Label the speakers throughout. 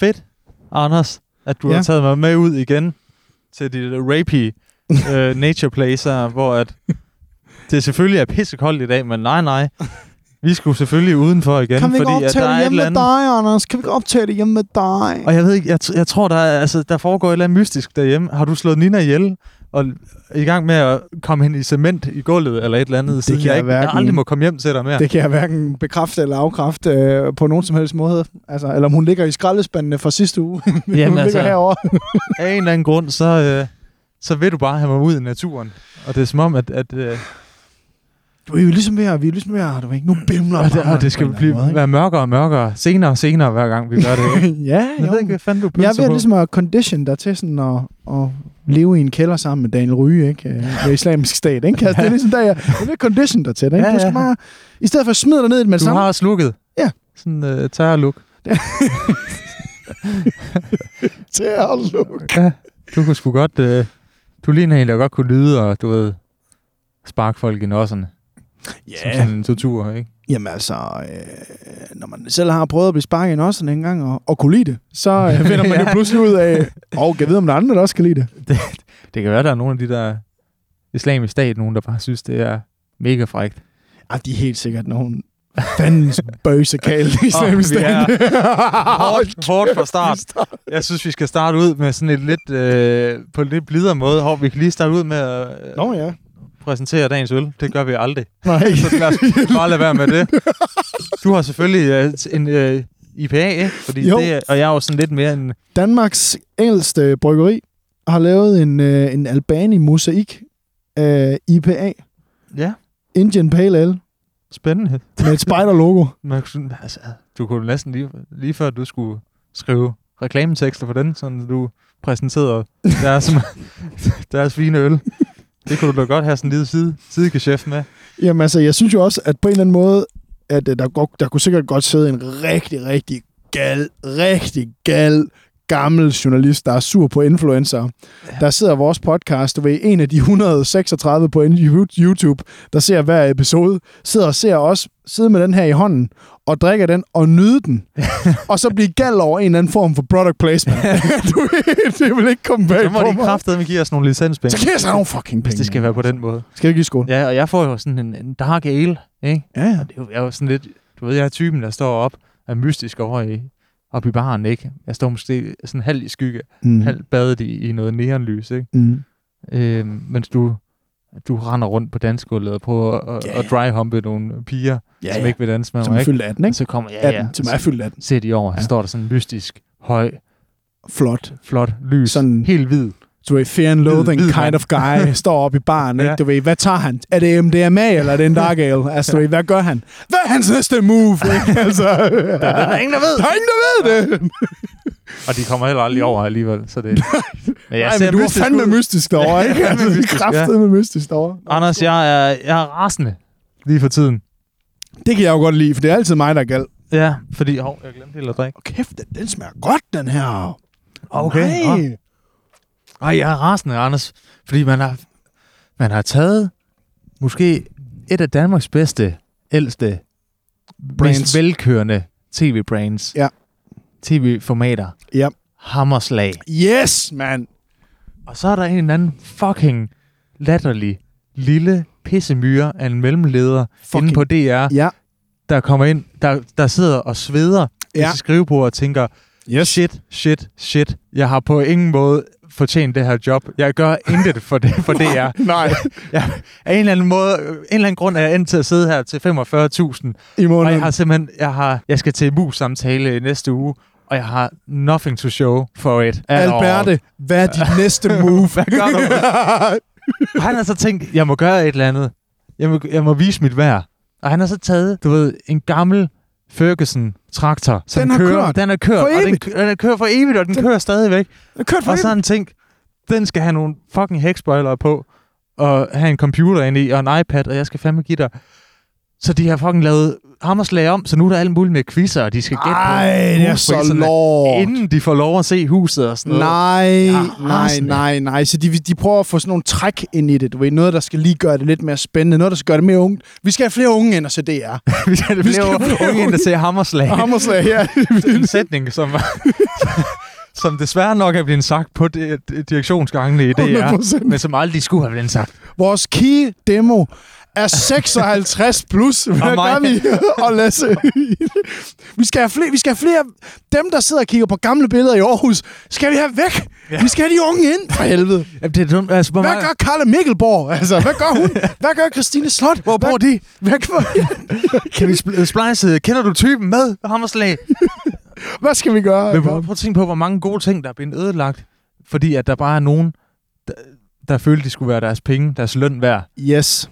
Speaker 1: fedt, Anders, at du ja.
Speaker 2: Ja.
Speaker 1: har taget mig med ud igen til de der rapey øh, nature placer, hvor at det selvfølgelig er pissekoldt i dag, men nej, nej. Vi skulle selvfølgelig udenfor igen,
Speaker 2: Kan vi ikke
Speaker 1: fordi at
Speaker 2: optage
Speaker 1: der er
Speaker 2: det
Speaker 1: et
Speaker 2: hjemme
Speaker 1: eller
Speaker 2: med
Speaker 1: andet...
Speaker 2: dig, Anders? Kan vi ikke optage det hjemme med dig?
Speaker 1: Og jeg ved ikke, jeg, t- jeg tror, der, er, altså, der foregår et eller andet mystisk derhjemme. Har du slået Nina ihjel og er i gang med at komme hen i cement i gulvet eller et eller andet, siden
Speaker 2: kan
Speaker 1: jeg,
Speaker 2: jeg
Speaker 1: ikke, jeg
Speaker 2: hverken-
Speaker 1: aldrig må komme hjem til dig mere?
Speaker 2: Det kan jeg hverken bekræfte eller afkræfte øh, på nogen som helst måde. Altså, eller om hun ligger i skraldespandene fra sidste uge. Jamen, altså- hun ligger herovre.
Speaker 1: af en eller anden grund, så, øh, så vil du bare have mig ud i naturen. Og det er som om, at, at, øh,
Speaker 2: Du er jo ligesom ved at, vi er ligesom ved at, du ved ikke, nu bimler
Speaker 1: og det,
Speaker 2: bare
Speaker 1: og det skal
Speaker 2: på en eller
Speaker 1: blive,
Speaker 2: anden måde,
Speaker 1: være mørkere og mørkere, senere og senere, hver gang vi gør det. ikke?
Speaker 2: ikke? ja,
Speaker 1: Jeg
Speaker 2: jo.
Speaker 1: ved ikke, hvad fanden du
Speaker 2: Jeg er
Speaker 1: pølser
Speaker 2: ved
Speaker 1: på.
Speaker 2: ligesom at condition dig til sådan at, at leve i en kælder sammen med Daniel Ryge, ikke? Øh, Med islamisk stat, ikke? Altså, det er ligesom der, jeg, jeg vil condition dig til det, ikke?
Speaker 1: Ja,
Speaker 2: Du skal
Speaker 1: ja.
Speaker 2: bare, i stedet for at smide dig ned i det med det
Speaker 1: Du
Speaker 2: samme,
Speaker 1: har også lukket.
Speaker 2: Ja.
Speaker 1: Sådan øh, terrorlook.
Speaker 2: til at lukke.
Speaker 1: Ja, du kunne sgu godt... Øh, du ligner en, der godt kunne lyde og, du ved, sparke folk i nosserne. Som
Speaker 2: Ja,
Speaker 1: sådan en tortur, ikke?
Speaker 2: Jamen altså, øh, når man selv har prøvet at blive sparket i nossen en gang, og, og kunne lide det, så øh, finder man ja. jo pludselig ud af, og jeg ved, om der er andre, der også kan lide det.
Speaker 1: Det kan være, der er nogle af de der islamisk stat, nogen, der bare synes, det er mega frækt.
Speaker 2: Ah, de er helt sikkert nogen fandens bøsekal i islamisk
Speaker 1: vi er
Speaker 2: stat.
Speaker 1: hårdt, hårdt fra start. Jeg synes, vi skal starte ud med sådan et lidt, øh, på en lidt blidere måde. Hvor vi kan lige starte ud med at øh,
Speaker 2: Nå ja.
Speaker 1: præsentere dagens øl. Det gør vi aldrig.
Speaker 2: Nej.
Speaker 1: Så lad os bare lade være med det. Du har selvfølgelig øh, en øh, IPA, ikke? Fordi
Speaker 2: Jo.
Speaker 1: det, er- og jeg er jo sådan lidt mere en...
Speaker 2: Danmarks ældste bryggeri har lavet en, øh, en Albani mosaik øh, IPA,
Speaker 1: Ja,
Speaker 2: Indian Pale Ale,
Speaker 1: spændende.
Speaker 2: med et spider-logo.
Speaker 1: Man, kunne sådan- altså, du kunne næsten lige, lige før, du skulle skrive reklametekster på den, sådan du præsenterede deres, deres fine øl. Det kunne du da godt have sådan en lille side, sidegeschæft med.
Speaker 2: Jamen altså, jeg synes jo også, at på en eller anden måde, at øh, der, godt, der kunne sikkert godt sidde en rigtig, rigtig gal, rigtig gal gammel journalist, der er sur på influencer. Ja. Der sidder vores podcast, du ved, en af de 136 på en- YouTube, der ser hver episode, sidder og ser os sidde med den her i hånden, og drikker den og nyde den. og så blive gal over en eller anden form for product placement. du ved, det vil ikke komme bag
Speaker 1: Så må
Speaker 2: på
Speaker 1: de
Speaker 2: mig.
Speaker 1: kraftedeme give os nogle
Speaker 2: Så
Speaker 1: licenspenge,
Speaker 2: giver jeg sig nogle fucking penge.
Speaker 1: hvis det skal være på den måde.
Speaker 2: Skal vi ikke lige skåle?
Speaker 1: Ja, og jeg får jo sådan en, en dark ale, ikke?
Speaker 2: Ja, ja.
Speaker 1: Og det er jo, jeg er jo sådan lidt, du ved, jeg er typen, der står op er mystisk over i, op i baren, ikke? Jeg står måske sådan halv i skygge,
Speaker 2: Mm.
Speaker 1: halv badet i, i noget neonlys, ikke?
Speaker 2: Mm.
Speaker 1: Øh, mens du, du render rundt på dansgulvet og prøver at,
Speaker 2: Ja,
Speaker 1: yeah.
Speaker 2: ja.
Speaker 1: at dryhumpe nogle piger,
Speaker 2: Ja,
Speaker 1: som
Speaker 2: ja.
Speaker 1: ikke vil danse med
Speaker 2: Som
Speaker 1: mig,
Speaker 2: er
Speaker 1: ikke?
Speaker 2: fyldt 18, ikke?
Speaker 1: Så kommer jeg, ja,
Speaker 2: 18,
Speaker 1: ja.
Speaker 2: som er fyldt 18.
Speaker 1: ser de over, ja. står der sådan en mystisk, høj,
Speaker 2: Flot.
Speaker 1: flot lys,
Speaker 2: Sådan-
Speaker 1: helt hvid.
Speaker 2: Du ved, fear and loathing
Speaker 1: Hvid- hvid
Speaker 2: kind
Speaker 1: mand.
Speaker 2: of guy står op i baren,
Speaker 1: Ja.
Speaker 2: ikke? Du ved, hvad tager han? Er det MDMA, eller er det en dark ale? Altså, du ved, hvad gør han? Hvad er hans næste move? Ikke? Altså,
Speaker 1: Der, der, der er ingen, der ved!
Speaker 2: der er ingen, der ved det!
Speaker 1: Og de kommer heller aldrig over alligevel, så det... Men
Speaker 2: Ej, men du er fandme mystisk derovre, ikke?
Speaker 1: Ja,
Speaker 2: Altså,
Speaker 1: fandme
Speaker 2: du
Speaker 1: mystisk,
Speaker 2: er
Speaker 1: ja.
Speaker 2: kraftedeme mystisk derovre.
Speaker 1: Anders, jeg er, jeg er rasende lige for tiden.
Speaker 2: Det kan jeg jo godt lide, for det er altid mig, der er gal.
Speaker 1: Ja, fordi... Hov, jeg glemte helt at drikke.
Speaker 2: Og kæft, den- den smager godt, den her.
Speaker 1: Ah, Nej.
Speaker 2: Nej.
Speaker 1: Ej, jeg er rasende, Anders. Fordi man har, man har taget måske et af Danmarks bedste, ældste, brands. mest
Speaker 2: Brands.
Speaker 1: velkørende tv-brands.
Speaker 2: Ja.
Speaker 1: TV-formater.
Speaker 2: Ja.
Speaker 1: Hammerslag.
Speaker 2: Yes, mand.
Speaker 1: Og så er der en eller anden fucking latterlig lille pissemyre af en mellemleder fucking. inde
Speaker 2: Fucking-
Speaker 1: på DR,
Speaker 2: Ja.
Speaker 1: der kommer ind, der, der sidder og sveder ja. i
Speaker 2: Ja.
Speaker 1: sit skrivebord og tænker,
Speaker 2: Yes.
Speaker 1: shit, shit, shit, jeg har på ingen måde fortjent det her job. Jeg gør intet for det, for det er.
Speaker 2: Nej.
Speaker 1: Jeg, af en eller anden måde, øh, en eller anden grund er jeg endt til at sidde her til 45.000.
Speaker 2: I
Speaker 1: Og jeg
Speaker 2: måneden.
Speaker 1: har simpelthen, jeg, har, jeg skal til mus-samtale i næste uge, og jeg har nothing to show for it. at all.
Speaker 2: Alberte, hvad er dit næste move?
Speaker 1: Hvad gør du? Og han har så tænkt, jeg må gøre et eller andet. Jeg må, jeg må vise mit værd. Og han har så taget, du ved, en gammel Ferguson-traktor. som
Speaker 2: Den har
Speaker 1: kører,
Speaker 2: kørt.
Speaker 1: Den har kørt,
Speaker 2: For
Speaker 1: og den,
Speaker 2: evigt.
Speaker 1: kø- den har kørt for evigt, og den, den kører stadigvæk.
Speaker 2: Jeg kørte for
Speaker 1: Og så har han tænkt, den skal have nogle fucking hækspoilere på, og have en computer inde i, og en iPad, og jeg skal fandme give dig Så de har fucking lavet hammerslag om, så nu er der alt muligt med quizzer, og de skal gætte på
Speaker 2: Ej, det er så
Speaker 1: huspriserne,
Speaker 2: lort.
Speaker 1: inden de får lov at se huset og sådan noget.
Speaker 2: Nej, nej,
Speaker 1: rasende.
Speaker 2: nej, nej. Så de, de prøver at få sådan nogle træk ind i det, du ved. Noget, der skal lige gøre det lidt mere spændende. Noget, der skal gøre det mere ungt. Vi skal have flere unge ind og se DR.
Speaker 1: vi skal
Speaker 2: Vi skal
Speaker 1: have
Speaker 2: flere
Speaker 1: flere unge ind, der ser hammerslag.
Speaker 2: Hammerslag, ja.
Speaker 1: en sætning, som, som desværre nok er blevet sagt på di- di- direktionsgangene i DR,
Speaker 2: 100%.
Speaker 1: men som aldrig skulle have blevet sagt.
Speaker 2: Vores key demo er 56 plus. Hvad
Speaker 1: Og mig.
Speaker 2: gør vi? og Lasse. vi, skal have flere, vi skal have flere... Dem, der sidder og kigger på gamle billeder i Aarhus, skal vi have væk. Ja. Vi skal have de unge ind, for helvede.
Speaker 1: Jamen, det er dumt. Altså, hvor
Speaker 2: Hvad
Speaker 1: meget-
Speaker 2: gør Karla Mikkelborg? Altså, hvad gør hun? Hvad gør Christine Slot? Hvor bor de? Hvad, gør-
Speaker 1: Kan vi spl- øh, splice? Kender du typen med hammerslag?
Speaker 2: hvad skal vi gøre?
Speaker 1: Men prøv, prøv at tænke på, hvor mange gode ting, der er blevet ødelagt, fordi at der bare er nogen, der, der følte, de skulle være deres penge, deres løn værd.
Speaker 2: Yes.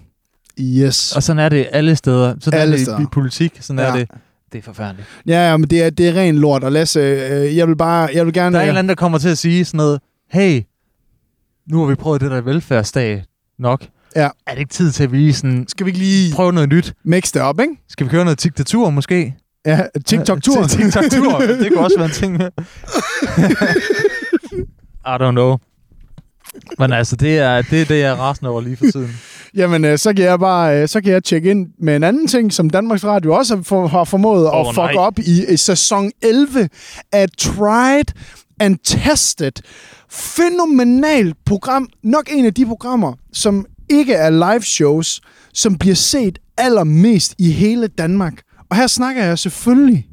Speaker 2: Yes.
Speaker 1: Og sådan er det alle steder. Sådan
Speaker 2: Alle
Speaker 1: er det i-
Speaker 2: steder.
Speaker 1: i politik. Sådan ja.
Speaker 2: Ja.
Speaker 1: er det. Det er forfærdeligt.
Speaker 2: Ja, ja, men det er, det er ren lort. Og Lasse, øh, jeg vil bare... Jeg vil gerne...
Speaker 1: Der er en eller anden, der kommer til at sige sådan noget, hey, nu har vi prøvet det der velfærdsdag nok.
Speaker 2: Ja.
Speaker 1: Er det ikke tid til, at vi lige sådan,
Speaker 2: Skal vi ikke lige
Speaker 1: prøve noget nyt?
Speaker 2: mix det op, ikke?
Speaker 1: Skal vi køre noget diktatur måske?
Speaker 2: Ja, TikTok-tur.
Speaker 1: Ja, TikTok-tur. det kunne også være en ting. I don't know. Men altså, det er det, er det jeg er rasende over lige for tiden.
Speaker 2: Jamen, øh, så kan jeg bare øh, så kan jeg tjekke ind med en anden ting, som Danmarks Radio også har for, har formået oh,
Speaker 1: Åh,
Speaker 2: at fuck
Speaker 1: nej.
Speaker 2: op i, i sæson 11 af Tried and Tested. Fænomenalt program. Nok en af de programmer, som ikke er live shows, som bliver set allermest i hele Danmark. Og her snakker jeg selvfølgelig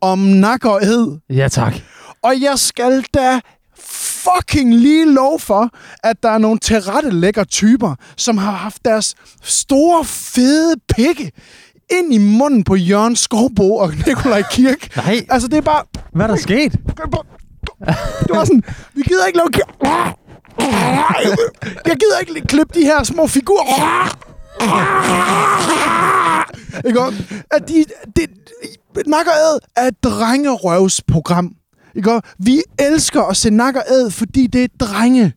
Speaker 2: om nak og ed.
Speaker 1: Ja, tak.
Speaker 2: Og jeg skal da fucking lige lov for, at der er nogle tilrettelægger typer, som har haft deres store, fede pikke ind i munden på Jørgen Skovbo og Nikolaj Kirk.
Speaker 1: Nej.
Speaker 2: Altså, det er bare...
Speaker 1: Hvad er der sket?
Speaker 2: Det var sådan, vi gider ikke lave... Jeg gider ikke klippe de her små figurer. Ikke også? At de... Det, Nak og Æd er et drengerøvsprogram. Ikke også? Vi elsker at se Nak og Æd, fordi det er drenge.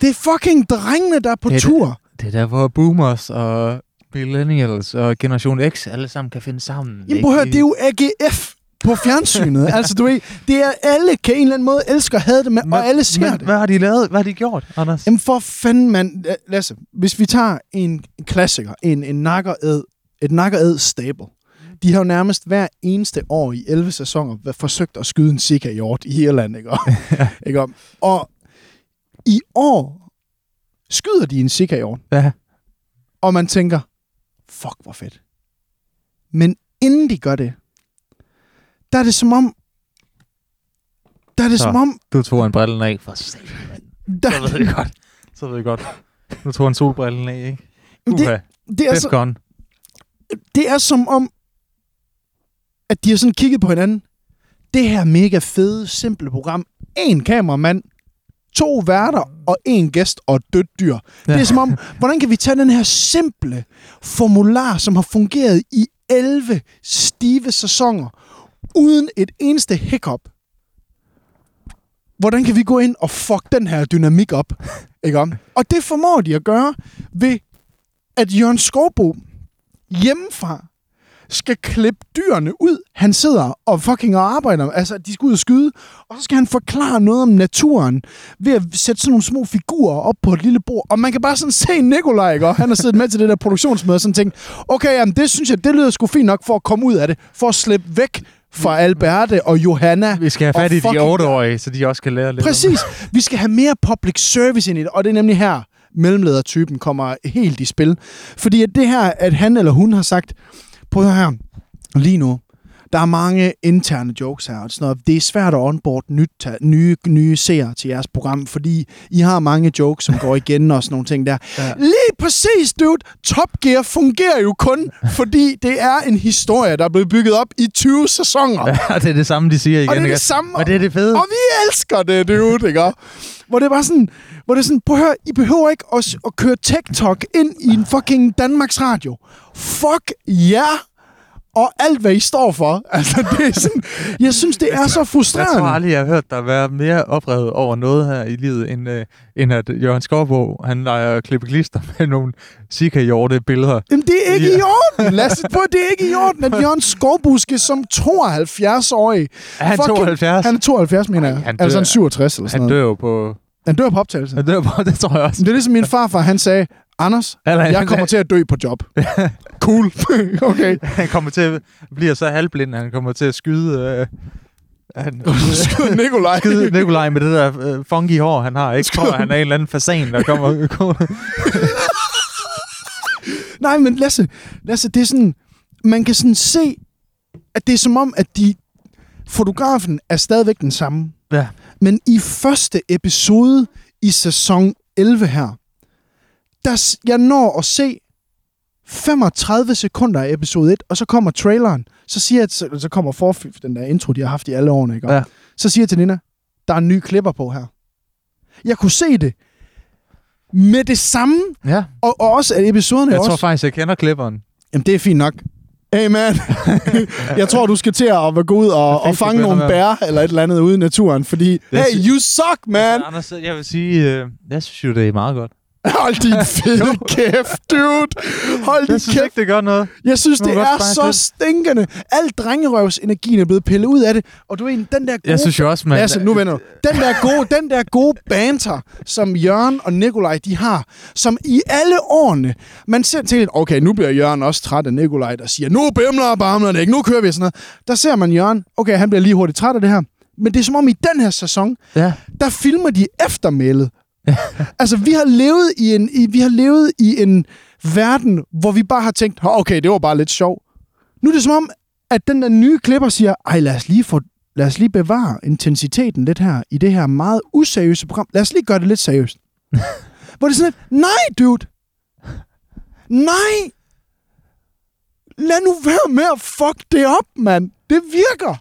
Speaker 2: Det er fucking drengene, der er på
Speaker 1: Det er det.
Speaker 2: tur.
Speaker 1: Det er der, hvor boomers og millennials og generation X alle sammen kan finde sammen.
Speaker 2: Jamen prøv at høre, det er jo AGF på fjernsynet. altså, du ved, det er alle kan en eller anden måde elsker at have det med, og alle ser
Speaker 1: men,
Speaker 2: det.
Speaker 1: Hvad har de lavet? Hvad har de gjort, Anders?
Speaker 2: Jamen for fanden, mand. La- Lasse, hvis vi tager en en klassiker, en, en nakkered, et nakkered stable. De har jo nærmest hver eneste år i 11 sæsoner væ- forsøgt at skyde en sika hjort i Irland, ikke? om? ikke? om? Og i år skyder de en sika hjort,
Speaker 1: Ja.
Speaker 2: og man tænker, fuck, hvor fedt. Men inden de gør det, der er det som om, der er det
Speaker 1: Så.
Speaker 2: som om,
Speaker 1: Du tog en brillen af. For satan, mand.
Speaker 2: der,
Speaker 1: Så ved jeg godt. Så ved jeg godt. Nu tog han solbrillen af, ikke?
Speaker 2: Jamen,
Speaker 1: Uha,
Speaker 2: det er
Speaker 1: det, altså,
Speaker 2: så,
Speaker 1: så... gone.
Speaker 2: det er som om, at de har sådan kigget på hinanden. Det her mega fede, simple program. En kameramand, to værter og en gæst og et dødt dyr. Ja. Det er som om, hvordan kan vi tage den her simple formular, som har fungeret i 11 stive sæsoner, uden et eneste hiccup? Hvordan kan vi gå ind og fuck den her dynamik op? Ikke om? Og det formår de at gøre ved, at Jørgen Skovbo hjemmefra skal klippe dyrene ud. Han sidder og fucking og arbejder. Altså, de skal ud og skyde. Og så skal han forklare noget om naturen ved at sætte sådan nogle små figurer op på et lille bord. Og man kan bare sådan se Nikolaj, ikke? Og han har siddet med til det der produktionsmøde og sådan tænkt, okay, jamen, det synes jeg, det lyder sgu fint nok for at komme ud af det. For at slippe væk fra Alberte og Johanna.
Speaker 1: Vi skal have fat
Speaker 2: og
Speaker 1: i de
Speaker 2: fucking-
Speaker 1: 8-årige, så de også kan lære lidt.
Speaker 2: Præcis. Vi skal have mere public service ind i det, og det er nemlig her, mellemledertypen kommer helt i spil. Fordi at det her, at han eller hun har sagt, prøv at høre her, lige nu, der er mange interne jokes her, og sådan noget. det er svært at onboard nyt, ta- nye, nye seere til jeres program, fordi I har mange jokes, som går igen og sådan nogle ting der. Ja. Lige præcis, dude! Top Gear fungerer jo kun, fordi det er en historie, der er blevet bygget op i 20 sæsoner. Ja,
Speaker 1: Ja, det er det samme, de siger igen.
Speaker 2: og det er
Speaker 1: ikke?
Speaker 2: det samme.
Speaker 1: Og det er det fede.
Speaker 2: Og vi elsker det, dude, ikke? Hvor det er bare sådan, hvor det er sådan, prøv at høre, I behøver ikke at, at køre TikTok ind i en fucking Danmarks Radio. Fuck jer! Yeah. og alt, hvad I står for. Altså, det er sådan, jeg synes, det er så
Speaker 1: Jeg
Speaker 2: frustrerende.
Speaker 1: tror aldrig, jeg har hørt dig være mere oprevet over noget her i livet, end, øh, end at Jørgen Skovbo, han leger klippeklister med nogle sika billeder.
Speaker 2: Jamen, det er ikke
Speaker 1: Ja.
Speaker 2: i orden, Lasse. Prøv, det er ikke i orden, at Jørgen Skovbuske som 72-årig...
Speaker 1: Er han
Speaker 2: Fucking-
Speaker 1: 72?
Speaker 2: Han er 72, mener jeg.
Speaker 1: Ej, han dør.
Speaker 2: altså, han er 67 eller sådan
Speaker 1: Han
Speaker 2: noget.
Speaker 1: dør jo på...
Speaker 2: Han dør på optagelsen.
Speaker 1: Han dør på, det tror jeg også.
Speaker 2: Det er ligesom min farfar, han sagde, Anders,
Speaker 1: Eller,
Speaker 2: jeg kommer til at dø på job. cool. okay.
Speaker 1: Han kommer til at blive så halvblind, at han kommer til at skyde... Øh, han,
Speaker 2: Skød Nikolaj.
Speaker 1: skide Nikolaj med det der øh, funky hår, han har. Ikke tror, han er en eller anden fasan, der kommer... kommer-
Speaker 2: Nej, men Lasse, Lasse, det er sådan, man kan sådan se, at det er som om, at de, fotografen er stadigvæk den samme.
Speaker 1: ja.
Speaker 2: Men i første episode i sæson 11 her, der s- jeg når at se 35 sekunder af episode 1, og så kommer traileren. Så siger jeg, så, så kommer forf- den der intro, de har haft i alle årene, ikke?
Speaker 1: Ja.
Speaker 2: Så siger jeg til Nina, der er en ny klipper på her. Jeg kunne se det med det samme,
Speaker 1: ja.
Speaker 2: og, og også at episoderne
Speaker 1: Jeg
Speaker 2: også...
Speaker 1: tror faktisk, jeg kender klipperen.
Speaker 2: Jamen, det er fint nok. Hey, man. jeg tror, du skal til at gå ud og,
Speaker 1: Jeg fik
Speaker 2: og fange
Speaker 1: det,
Speaker 2: nogle
Speaker 1: Bjørn.
Speaker 2: bær eller et eller andet ude i naturen, fordi...
Speaker 1: er
Speaker 2: Hey,
Speaker 1: sy-
Speaker 2: you suck, man!
Speaker 1: Altså, Anders, jeg vil sige, øh, jeg synes jo, det er meget godt.
Speaker 2: Hold din fede kæft, dude! Hold din
Speaker 1: Jeg synes
Speaker 2: kæft.
Speaker 1: ikke, det gør noget.
Speaker 2: Jeg synes,
Speaker 1: Nu er
Speaker 2: det
Speaker 1: du
Speaker 2: er
Speaker 1: godt fanget
Speaker 2: så
Speaker 1: lidt.
Speaker 2: stinkende. Al drengerøvsenergien er blevet pillet ud af det, og du er en, den der gode...
Speaker 1: Jeg synes jo også, man...
Speaker 2: Lasse, Altså, nu vender du. Den der, gode, den der gode banter, som Jørgen og Nikolaj, de har, som i alle årene, man ser til, okay, nu bliver Jørgen også træt af Nikolaj, der siger, nu bimler og bamler det ikke, nu kører vi og sådan noget. Der ser man Jørgen, okay, han bliver lige hurtigt træt af det her. Men det er som om i den her sæson,
Speaker 1: Ja.
Speaker 2: der filmer de eftermælet. altså, vi har levet i en, i, vi har levet i en verden, hvor vi bare har tænkt, "Hå, okay, det var bare lidt sjov. Nu er det som om, at den der nye klipper siger, ej, lad os lige få lad os lige bevare intensiteten lidt her, i det her meget useriøse program. Lad os lige gøre det lidt seriøst. Hvor det er sådan lidt, nej, dude! Nej! Lad nu være med at fuck det op, mand! Det virker!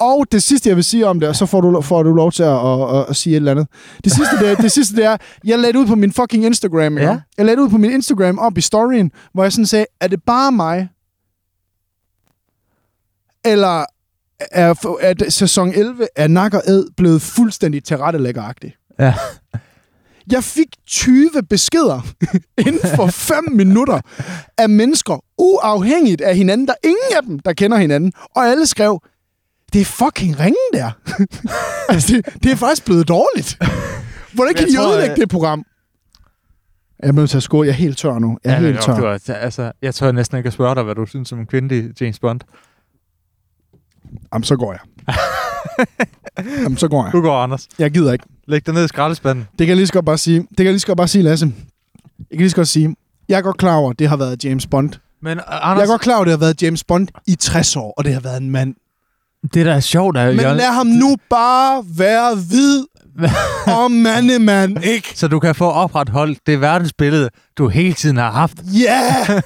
Speaker 2: Og det sidste, jeg vil sige om det, og så får du, får du lov til at, at, at, at sige et eller andet. Det sidste, det, er, det sidste, det er, jeg lagde det ud på min fucking Instagram. Ja.
Speaker 1: Ja.
Speaker 2: Jeg lagde det ud på min Instagram op i storyen, hvor jeg sådan sagde, er det bare mig? Eller er, er det- sæson 11 af Nak og Æd blevet fuldstændig tilrettelæggeragtig?
Speaker 1: Ja.
Speaker 2: Jeg fik 20 beskeder inden for 5 minutter af mennesker, uafhængigt af hinanden. Der er ingen af dem, der kender hinanden. Og alle skrev, det er fucking ringen der. altså, det, det er faktisk blevet dårligt. Hvordan kan
Speaker 1: Jeg
Speaker 2: de
Speaker 1: tror,
Speaker 2: ødelægge
Speaker 1: øh,
Speaker 2: det program? Jeg er nødt til at skåle. Jeg er helt tør nu. Jeg er
Speaker 1: Ja,
Speaker 2: ja, helt
Speaker 1: jo,
Speaker 2: tør.
Speaker 1: du er- altså, jeg tør næsten ikke at spørge dig, hvad du synes om kvindelig James Bond.
Speaker 2: Jamen, så går jeg. Jamen, så går jeg.
Speaker 1: Du går, Anders.
Speaker 2: Jeg gider ikke.
Speaker 1: Læg dig ned i skraldespanden.
Speaker 2: Det kan jeg lige så godt bare sige. Det kan jeg lige så godt bare sige, Lasse. Jeg kan lige så godt sige, jeg er godt klar over, at det har været James Bond. Anders...
Speaker 1: Men øh,
Speaker 2: Jeg
Speaker 1: Anders,
Speaker 2: er godt klar over, at det har været James Bond i 60 år, og det har været en mand.
Speaker 1: det der er sjovt, er
Speaker 2: Men
Speaker 1: Jørgen-
Speaker 2: lad ham nu bare være hvid og mandemand, ikke?
Speaker 1: så du kan få opretholdt det verdensbillede, du hele tiden har haft.
Speaker 2: Ja! Yeah!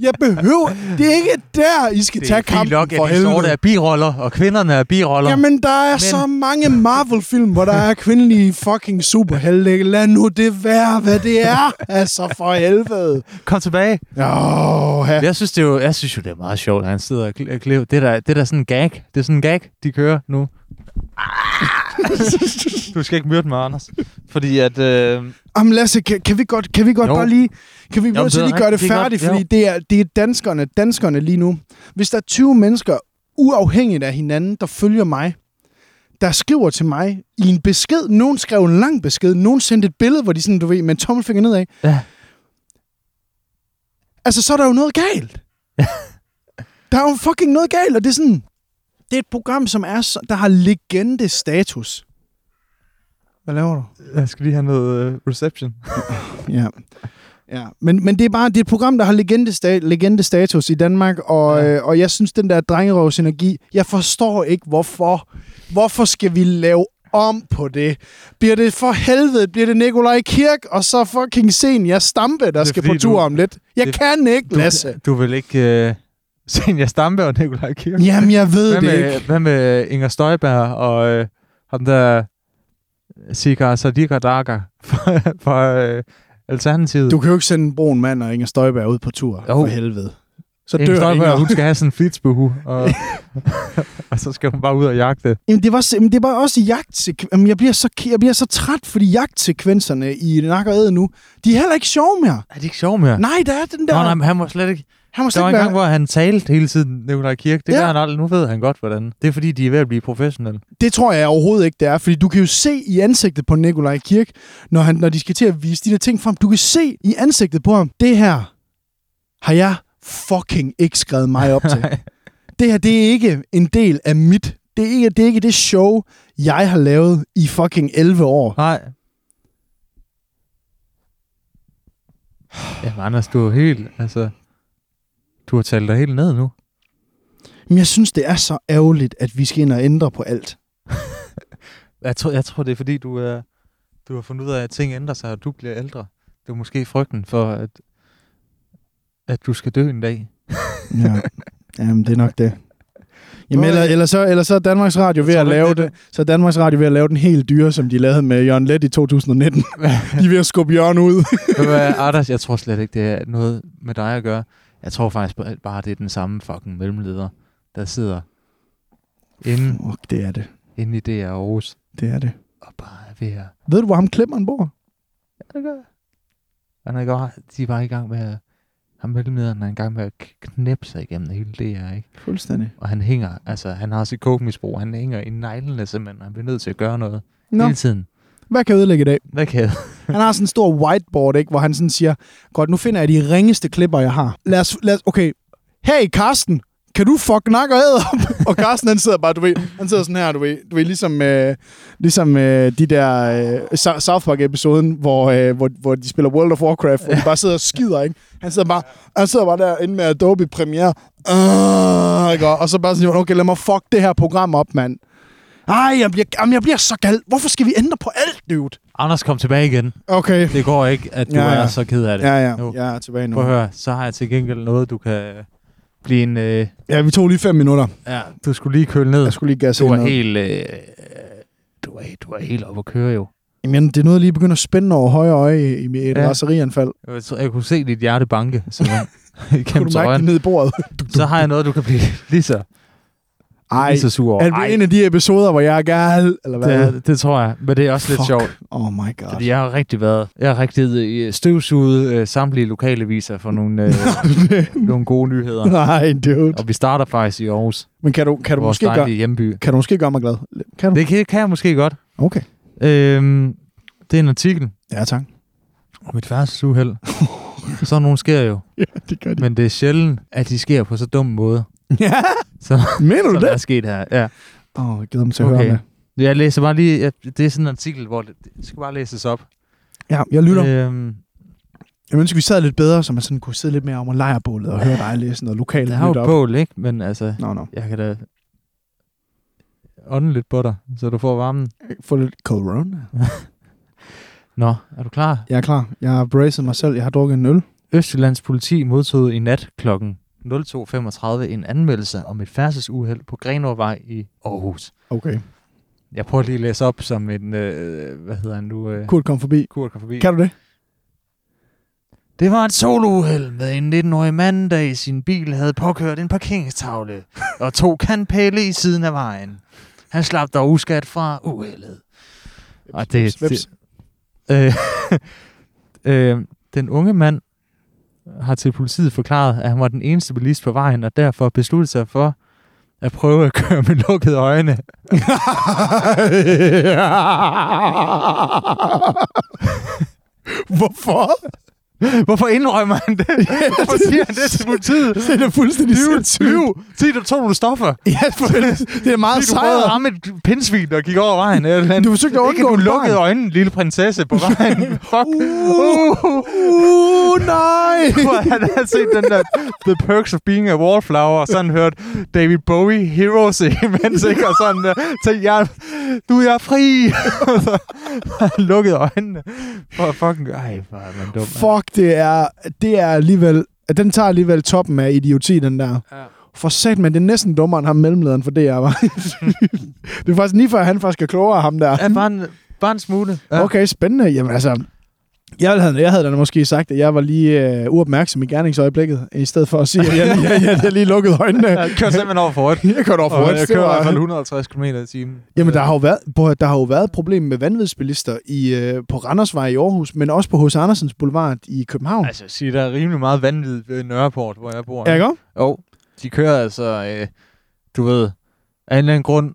Speaker 2: Jeg behøver... Det er ikke der, I skal
Speaker 1: Det
Speaker 2: tage
Speaker 1: er fint
Speaker 2: kampen
Speaker 1: nok,
Speaker 2: for
Speaker 1: at de sorte
Speaker 2: helvede.
Speaker 1: er biroller, og kvinderne er biroller.
Speaker 2: Jamen, der er Men... så mange Marvel-film, hvor der er kvindelige fucking superhelte. ikke? Lad nu det være, hvad det er. Altså, for helvede.
Speaker 1: Kom tilbage.
Speaker 2: Åh, ja.
Speaker 1: Jeg synes, det er jo, jeg synes jo, det er meget sjovt, at han sidder og kl- klipper. Det er da- det er da sådan en gag. Det er sådan en gag, de kører nu. du skal ikke myrde mig, Anders. Fordi at... Øh,
Speaker 2: Jamen Lasse, kan, kan vi godt, kan vi godt
Speaker 1: Jo.
Speaker 2: bare lige, kan vi
Speaker 1: Jamen,
Speaker 2: jo,
Speaker 1: det er
Speaker 2: lige gøre det
Speaker 1: rigtigt, det er
Speaker 2: færdigt,
Speaker 1: godt,
Speaker 2: fordi det er, det er danskerne, danskerne lige nu. Hvis der er 20 mennesker, uafhængigt af hinanden, der følger mig, der skriver til mig i en besked, nogen skrev en lang besked, nogen sendte et billede, hvor de sådan, du ved, med en tommelfinger nedad.
Speaker 1: ja.
Speaker 2: Altså, så er der jo noget galt. der er jo fucking noget galt, og det er sådan, det er et program, som er, så- der har legende-status. Hvad laver du?
Speaker 1: Jeg skal lige have noget øh, reception.
Speaker 2: Ja. Ja, men, men det er bare det er et program, der har legendesta- legendestatus i Danmark, og, ja.
Speaker 1: Ja.
Speaker 2: øh, og jeg synes, den der drengerøvsenergi, jeg forstår ikke, hvorfor. Hvorfor skal vi lave om på det? Bliver det for helvede, bliver det Nikolaj Kirk, og så fucking sen jeg stampe, der
Speaker 1: er
Speaker 2: skal
Speaker 1: fordi,
Speaker 2: på tur
Speaker 1: du-
Speaker 2: om lidt? Jeg
Speaker 1: det-
Speaker 2: kan ikke,
Speaker 1: Du,
Speaker 2: Lasse.
Speaker 1: du vil ikke... Øh, Senja Stampe og Nikolaj Kirk.
Speaker 2: Jamen, jeg ved
Speaker 1: Hvad
Speaker 2: det
Speaker 1: med,
Speaker 2: ikke.
Speaker 1: hvad med Inger Støjberg og øh, ham der Sikar Sadikar Daga fra, fra øh, Alternativet?
Speaker 2: Du kan jo ikke sende en brun mand og Inger Støjberg ud på tur,
Speaker 1: Jo.
Speaker 2: for helvede. så
Speaker 1: en
Speaker 2: dør
Speaker 1: historie, hvor
Speaker 2: Inger.
Speaker 1: hun skal have sådan en flitsbuhu, og, og så skal hun bare ud og jagte.
Speaker 2: Jamen, det var, sim- men det var også jagtsekvenser. Jamen, jeg bliver, så, ke- jeg bliver så træt, fordi jagtsekvenserne i Nak og Æd nu, de er heller ikke sjove mere.
Speaker 1: Er det ikke sjovt mere?
Speaker 2: Nej, der er den der...
Speaker 1: Nå, nej, men han var slet ikke...
Speaker 2: han må
Speaker 1: Der
Speaker 2: slet
Speaker 1: var en
Speaker 2: ikke
Speaker 1: gang,
Speaker 2: være,
Speaker 1: hvor han talte hele tiden, Nikolaj Kirk. Det
Speaker 2: Ja.
Speaker 1: ja. gør han aldrig. Nu ved han godt, hvordan. Det er fordi, de er ved at blive professionelle.
Speaker 2: det tror jeg overhovedet ikke, det er. Fordi du kan jo se i ansigtet på Nikolaj Kirk, når, han, når de skal til at vise de der ting frem. Du kan se i ansigtet på ham, det her har jeg fucking ikke skrevet mig op til. det her, det er ikke en del af mit... Det er, ikke, det er ikke det show, jeg har lavet i fucking 11 år.
Speaker 1: Nej. Jamen, Anders, du er jo helt... Altså, du har talt dig helt ned nu.
Speaker 2: Men jeg synes, det er så ærgerligt, at vi skal ind og ændre på alt.
Speaker 1: Jeg tror, jeg tror det er fordi, du, er, du har fundet ud af, at ting ændrer sig, og du bliver ældre. Det er måske frygten for, at, at du skal dø en dag.
Speaker 2: Ja. Jamen, det er nok det. Jamen,
Speaker 1: Nå,
Speaker 2: eller,
Speaker 1: ja.
Speaker 2: eller, så, eller så er Danmarks Radio ved
Speaker 1: tror
Speaker 2: at
Speaker 1: du ikke,
Speaker 2: lave
Speaker 1: det er
Speaker 2: det. Så er Danmarks Radio ved at lave den helt dyre, som de lavede med Jørgen Let i 2019. de er ved at skubbe Jørgen ud.
Speaker 1: Ved du hvad, Anders, jeg tror slet ikke, det er noget med dig at gøre. Jeg tror faktisk bare- bare, det er den samme fucking mellemleder, der sidder inde,
Speaker 2: Fuck, det er det.
Speaker 1: inde i DR Aarhus
Speaker 2: Det er det.
Speaker 1: og bare er ved at...
Speaker 2: Ved du, hvor ham klipperen bor?
Speaker 1: Ja, det gør jeg. Han er godt, de er bare i gang med at... Ham mellemlederen er i gang med at k- knæppe sig igennem hele DR, ikke?
Speaker 2: Fuldstændig.
Speaker 1: Og han hænger, altså han har sit kogemisbrug, han hænger i neglene simpelthen, og han bliver nødt til at gøre noget
Speaker 2: Nå,
Speaker 1: hele tiden.
Speaker 2: hvad kan jeg ødelægge i dag?
Speaker 1: Hvad kan jeg?
Speaker 2: Han har sådan en stor whiteboard, ikke, hvor han sådan siger, godt, nu finder jeg de ringeste klipper, jeg har. Lad os, lad os okay, hey Karsten, kan du fuck nak og æde op? og Karsten, han sidder bare, du ved, han sidder sådan her, du ved, du ved ligesom, øh, ligesom øh, de der øh, Sou- South Park-episoden, hvor, øh, hvor, hvor de spiller World of Warcraft, hvor de bare sidder og skider, ikke? Han sidder bare, han sidder bare derinde med Adobe Premiere, øh, ikke? og og så bare sådan, okay, lad mig fuck det her program op, mand. Ej, jeg bliver, jamen, jeg bliver så gal. Hvorfor skal vi ændre på alt, dude?
Speaker 1: Anders, kom tilbage igen.
Speaker 2: Okay.
Speaker 1: Det går ikke, at du
Speaker 2: Ja,
Speaker 1: ja, ja.
Speaker 2: ja.
Speaker 1: er så ked af det.
Speaker 2: Ja, ja.
Speaker 1: Nu.
Speaker 2: Jeg er tilbage nu.
Speaker 1: Prøv at høre, så har jeg til gengæld noget, du kan øh, blive en... Øh,
Speaker 2: Ja, vi tog lige fem minutter.
Speaker 1: ja, du skulle lige køle ned.
Speaker 2: Jeg skulle lige gasse
Speaker 1: Du var
Speaker 2: ind noget.
Speaker 1: helt... Øh, øh, du, var, du var helt oppe at køre jo.
Speaker 2: Jamen, det er noget, jeg lige begynder at spænde over højre øje i, i et ja.
Speaker 1: Ja.
Speaker 2: raserianfald.
Speaker 1: Jeg, tror, jeg kunne se dit hjerte banke. simpelthen,
Speaker 2: Kunne
Speaker 1: igennem
Speaker 2: du mærke det
Speaker 1: trøjen.
Speaker 2: ned i bordet?
Speaker 1: Så har jeg noget, du kan blive lige så,
Speaker 2: Ej,
Speaker 1: lige så sur over.
Speaker 2: er det en af de episoder, hvor jeg er gal? Eller hvad?
Speaker 1: Ej, det, det tror jeg. Men det er også lidt
Speaker 2: Fuck.
Speaker 1: sjovt.
Speaker 2: Oh my god.
Speaker 1: Fordi jeg har rigtig været... Jeg har rigtig øh, støvsuget øh, samtlige lokaleviser for nogle, øh, nogle gode nyheder.
Speaker 2: Nej, dude.
Speaker 1: Og vi starter faktisk i Aarhus,
Speaker 2: Men kan du, kan du,
Speaker 1: vores
Speaker 2: måske gøre,
Speaker 1: dejlige hjemby.
Speaker 2: kan du måske gøre mig glad? Kan du?
Speaker 1: Det kan, kan jeg måske godt.
Speaker 2: Okay.
Speaker 1: Øhm, det er en artikel
Speaker 2: Ja, tak.
Speaker 1: om et færdselsuheld. Sådan nogle sker jo.
Speaker 2: Ja, det gør
Speaker 1: Men det er sjældent, at de sker på så dum måde,
Speaker 2: ja,
Speaker 1: som,
Speaker 2: mener
Speaker 1: som
Speaker 2: du
Speaker 1: der er
Speaker 2: det?
Speaker 1: sket her. Ja.
Speaker 2: Åh, oh, jeg gider dem til at okay.
Speaker 1: Okay.
Speaker 2: høre med.
Speaker 1: Jeg læser bare lige... Jeg, det er sådan en artikel, hvor det, det skal bare læses op.
Speaker 2: Ja, jeg lytter. Øh.
Speaker 1: Øhm,
Speaker 2: Jeg ønsker, vi sad lidt bedre, så man sådan kunne sidde lidt mere om og lejrebålet og høre dig læse noget lokalt.
Speaker 1: der har jo
Speaker 2: nyt
Speaker 1: et
Speaker 2: op.
Speaker 1: bål, ikke? Men altså,
Speaker 2: Nå, nå.
Speaker 1: jeg kan da ånde lidt på dig, så du får varmen.
Speaker 2: Få lidt corona.
Speaker 1: Nå, er du klar?
Speaker 2: Jeg er klar. Jeg har braced mig selv. Jeg har drukket en øl.
Speaker 1: Østjyllands politi modtog i nat kl. 02.35 en anmeldelse om et færdselsuheld på Grenåvej i Aarhus.
Speaker 2: Okay.
Speaker 1: Jeg prøver lige at læse op som en, øh, hvad hedder han nu? Øh,
Speaker 2: Kurt kom forbi.
Speaker 1: Kurt kom forbi.
Speaker 2: Kan du det?
Speaker 1: Det var et solouheld med en 19-årig mand, der i sin bil havde påkørt en parkeringstavle og to kantpæle i siden af vejen. Han slap dog uskat fra uheldet. Og det,
Speaker 2: Vips.
Speaker 1: det, øh, øh, den unge mand har til politiet forklaret, at han var den eneste bilist på vejen, og derfor besluttede sig for at prøve at køre med lukkede øjne.
Speaker 2: Hvorfor?
Speaker 1: Hvorfor indrømmer han det? Hvorfor siger han det til politiet?
Speaker 2: Det er da fuldstændig
Speaker 1: Lyv,
Speaker 2: sindssygt.
Speaker 1: lyv, sig du tog nogle stoffer.
Speaker 2: Ja, for det er meget
Speaker 1: Fordi du prøvede at
Speaker 2: sejret.
Speaker 1: ramme et pindsvin, der gik over vejen. Eller et eller
Speaker 2: Du
Speaker 1: andet.
Speaker 2: forsøgte at
Speaker 1: Ikke
Speaker 2: undgå
Speaker 1: du
Speaker 2: en
Speaker 1: lukkede
Speaker 2: barn.
Speaker 1: øjnene, lille prinsesse, på vejen. Fuck.
Speaker 2: Uh, uh, nej!
Speaker 1: Hvor han havde set den der The Perks of Being a Wallflower, og sådan hørt David Bowie Heroes imens, ikke? Og sådan der, tænkte jeg, nu er jeg fri! Og så har han lukkede øjnene. For fucking, ej, hvor er man dum. mand.
Speaker 2: Fuck, det er, det er alligevel... Den tager alligevel toppen af idioti, den der.
Speaker 1: Ja.
Speaker 2: For sat, men det er næsten dummere end ham mellemlederen for DR, var. det er faktisk lige før, han faktisk er klogere, ham der.
Speaker 1: Ja, bare en, bare en smule. Ja.
Speaker 2: Okay, spændende. Jamen altså, Jeg havde, jeg havde da måske sagt, at jeg var lige øh, uopmærksom i gerningsøjeblikket, i stedet for at sige, at jeg, jeg, jeg, jeg, jeg lige lukkede øjnene.
Speaker 1: Jeg kører simpelthen over for rødt.
Speaker 2: Jeg kørte over for
Speaker 1: Og
Speaker 2: rødt.
Speaker 1: jeg
Speaker 2: det
Speaker 1: kører i
Speaker 2: var-
Speaker 1: hvert fald 150 km i timen. Øh,
Speaker 2: Jamen, der har jo været, prøv at høre, der har jo været problemer med vanvidsbilister i, øh, på Randersvej i Aarhus, men også på H.C. Andersens Boulevard i København.
Speaker 1: Altså, sige, der er rimelig meget vanvid ved Nørreport, hvor jeg bor.
Speaker 2: Ja, ikke også?
Speaker 1: Jo, de kører altså, øh, du ved, af en eller anden grund,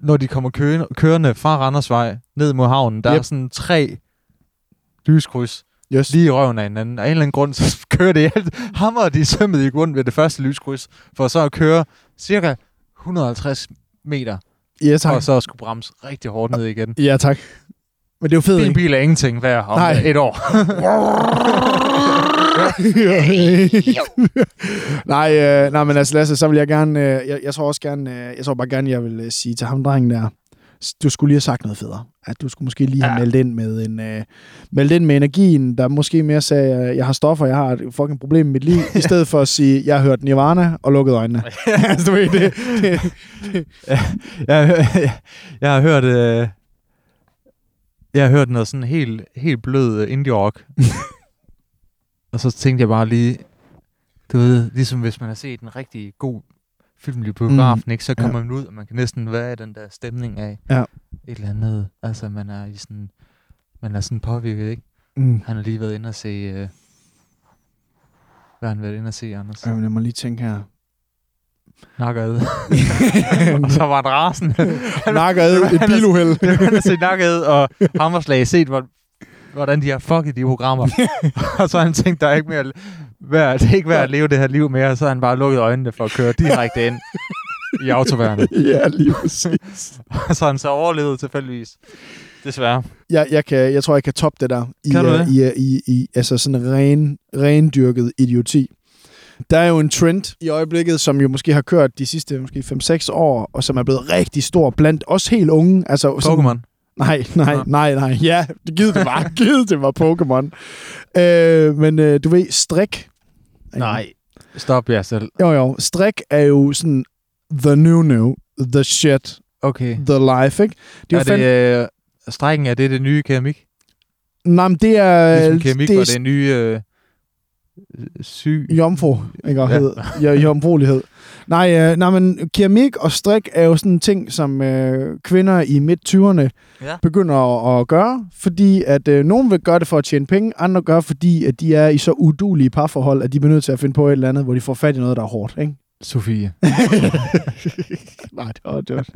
Speaker 1: når de kommer kø- kørende fra Randersvej ned mod havnen, der yep. er
Speaker 2: Yep.
Speaker 1: sådan tre lyskryds
Speaker 2: Yes.
Speaker 1: lige i røven af hinanden. Af en eller anden grund, så kører det alt. Hammer de sømmet i grund ved det første lyskryds, for så at køre cirka 150 meter,
Speaker 2: Ja,
Speaker 1: tak.
Speaker 2: tak.
Speaker 1: og så at skulle bremse rigtig hårdt ned igen.
Speaker 2: Ja, tak. Men det er jo fedt,
Speaker 1: Din
Speaker 2: ikke?
Speaker 1: bil er ingenting værd om
Speaker 2: Nej.
Speaker 1: Nej. et år.
Speaker 2: nej, øh, nej, men altså Lasse, så vil jeg gerne, øh, jeg, jeg tror også gerne, øh, jeg tror bare gerne, jeg vil øh, sige til ham drengen der, s- du skulle lige have sagt noget federe. At du skulle måske lige have
Speaker 1: Ja.
Speaker 2: meldt ind med en, øh, meldt ind med energien, der måske mere sagde, øh, jeg har stoffer, jeg har et fucking problem med mit liv, i stedet for at sige, jeg har hørt Nirvana og lukket øjnene. altså, du ved det.
Speaker 1: jeg, jeg, jeg har hørt... Øh, jeg har hørt noget sådan helt, helt blød øh, indie rock. og så tænkte jeg bare lige... Du ved, ligesom hvis man har set en rigtig god film i biografen, mm. ikke, så
Speaker 2: Ja.
Speaker 1: kommer man ud, og man kan næsten være i den der stemning af
Speaker 2: Ja.
Speaker 1: et eller andet. Altså, man er i sådan... Man er sådan påvirket, ikke?
Speaker 2: Mm.
Speaker 1: Han har lige været inde og se... Øh, hvad har han været inde og se, Anders?
Speaker 2: Øh, lad mig lige tænke her.
Speaker 1: Nakkerede. og så var det rasen.
Speaker 2: Nakker ad et biluheld.
Speaker 1: Det var han se nakket og Hammerslag set, hvor- hvordan de har fucket de programmer. og så har han tænkt, der er ikke mere værd, det er ikke værd at leve det her liv mere, og så har han bare lukket øjnene for at køre direkte ind i autoværnet.
Speaker 2: ja, lige præcis.
Speaker 1: Og så har han så overlevet tilfældigvis. Desværre.
Speaker 2: jeg, jeg, kan, jeg tror, jeg kan toppe det der. I,
Speaker 1: Kan du
Speaker 2: øh,
Speaker 1: det?
Speaker 2: I, øh, i, i altså sådan ren, rendyrket idioti. Der er jo en trend i øjeblikket, som jo måske har kørt de sidste måske 5-6 år, og som er blevet rigtig stor blandt os helt unge. Altså, sådan-
Speaker 1: Pokémon.
Speaker 2: Nej, nej,
Speaker 1: Nå.
Speaker 2: nej, nej. Ja, giv det var, giv det var Pokémon. Øh, men øh, du ved, strik.
Speaker 1: Stop jer selv.
Speaker 2: Jo, jo. Strik er jo sådan the new new, the shit,
Speaker 1: Okay.
Speaker 2: the life, ikke?
Speaker 1: Det Mm. er,
Speaker 2: jo
Speaker 1: er det, øh, strækken, er det det nye keramik?
Speaker 2: Nej, men det er...
Speaker 1: øh, Ligesom keramik
Speaker 2: det
Speaker 1: det
Speaker 2: er
Speaker 1: var det nye øh, syg...
Speaker 2: Jomfru, ikke? Og
Speaker 1: Ja.
Speaker 2: hed. Ja. Jomfruelighed. Nej, øh, nej, men keramik og strik er jo sådan en ting, som øh, kvinder i midt-20'erne
Speaker 1: Ja.
Speaker 2: begynder at, at gøre, fordi at øh, nogen vil gøre det for at tjene penge, andre gør, fordi at de er i så udulige parforhold, at de bliver nødt til at finde på et eller andet, hvor de får fat i noget, der er hårdt, ikke?
Speaker 1: Sofie.
Speaker 2: Nej, det var, det var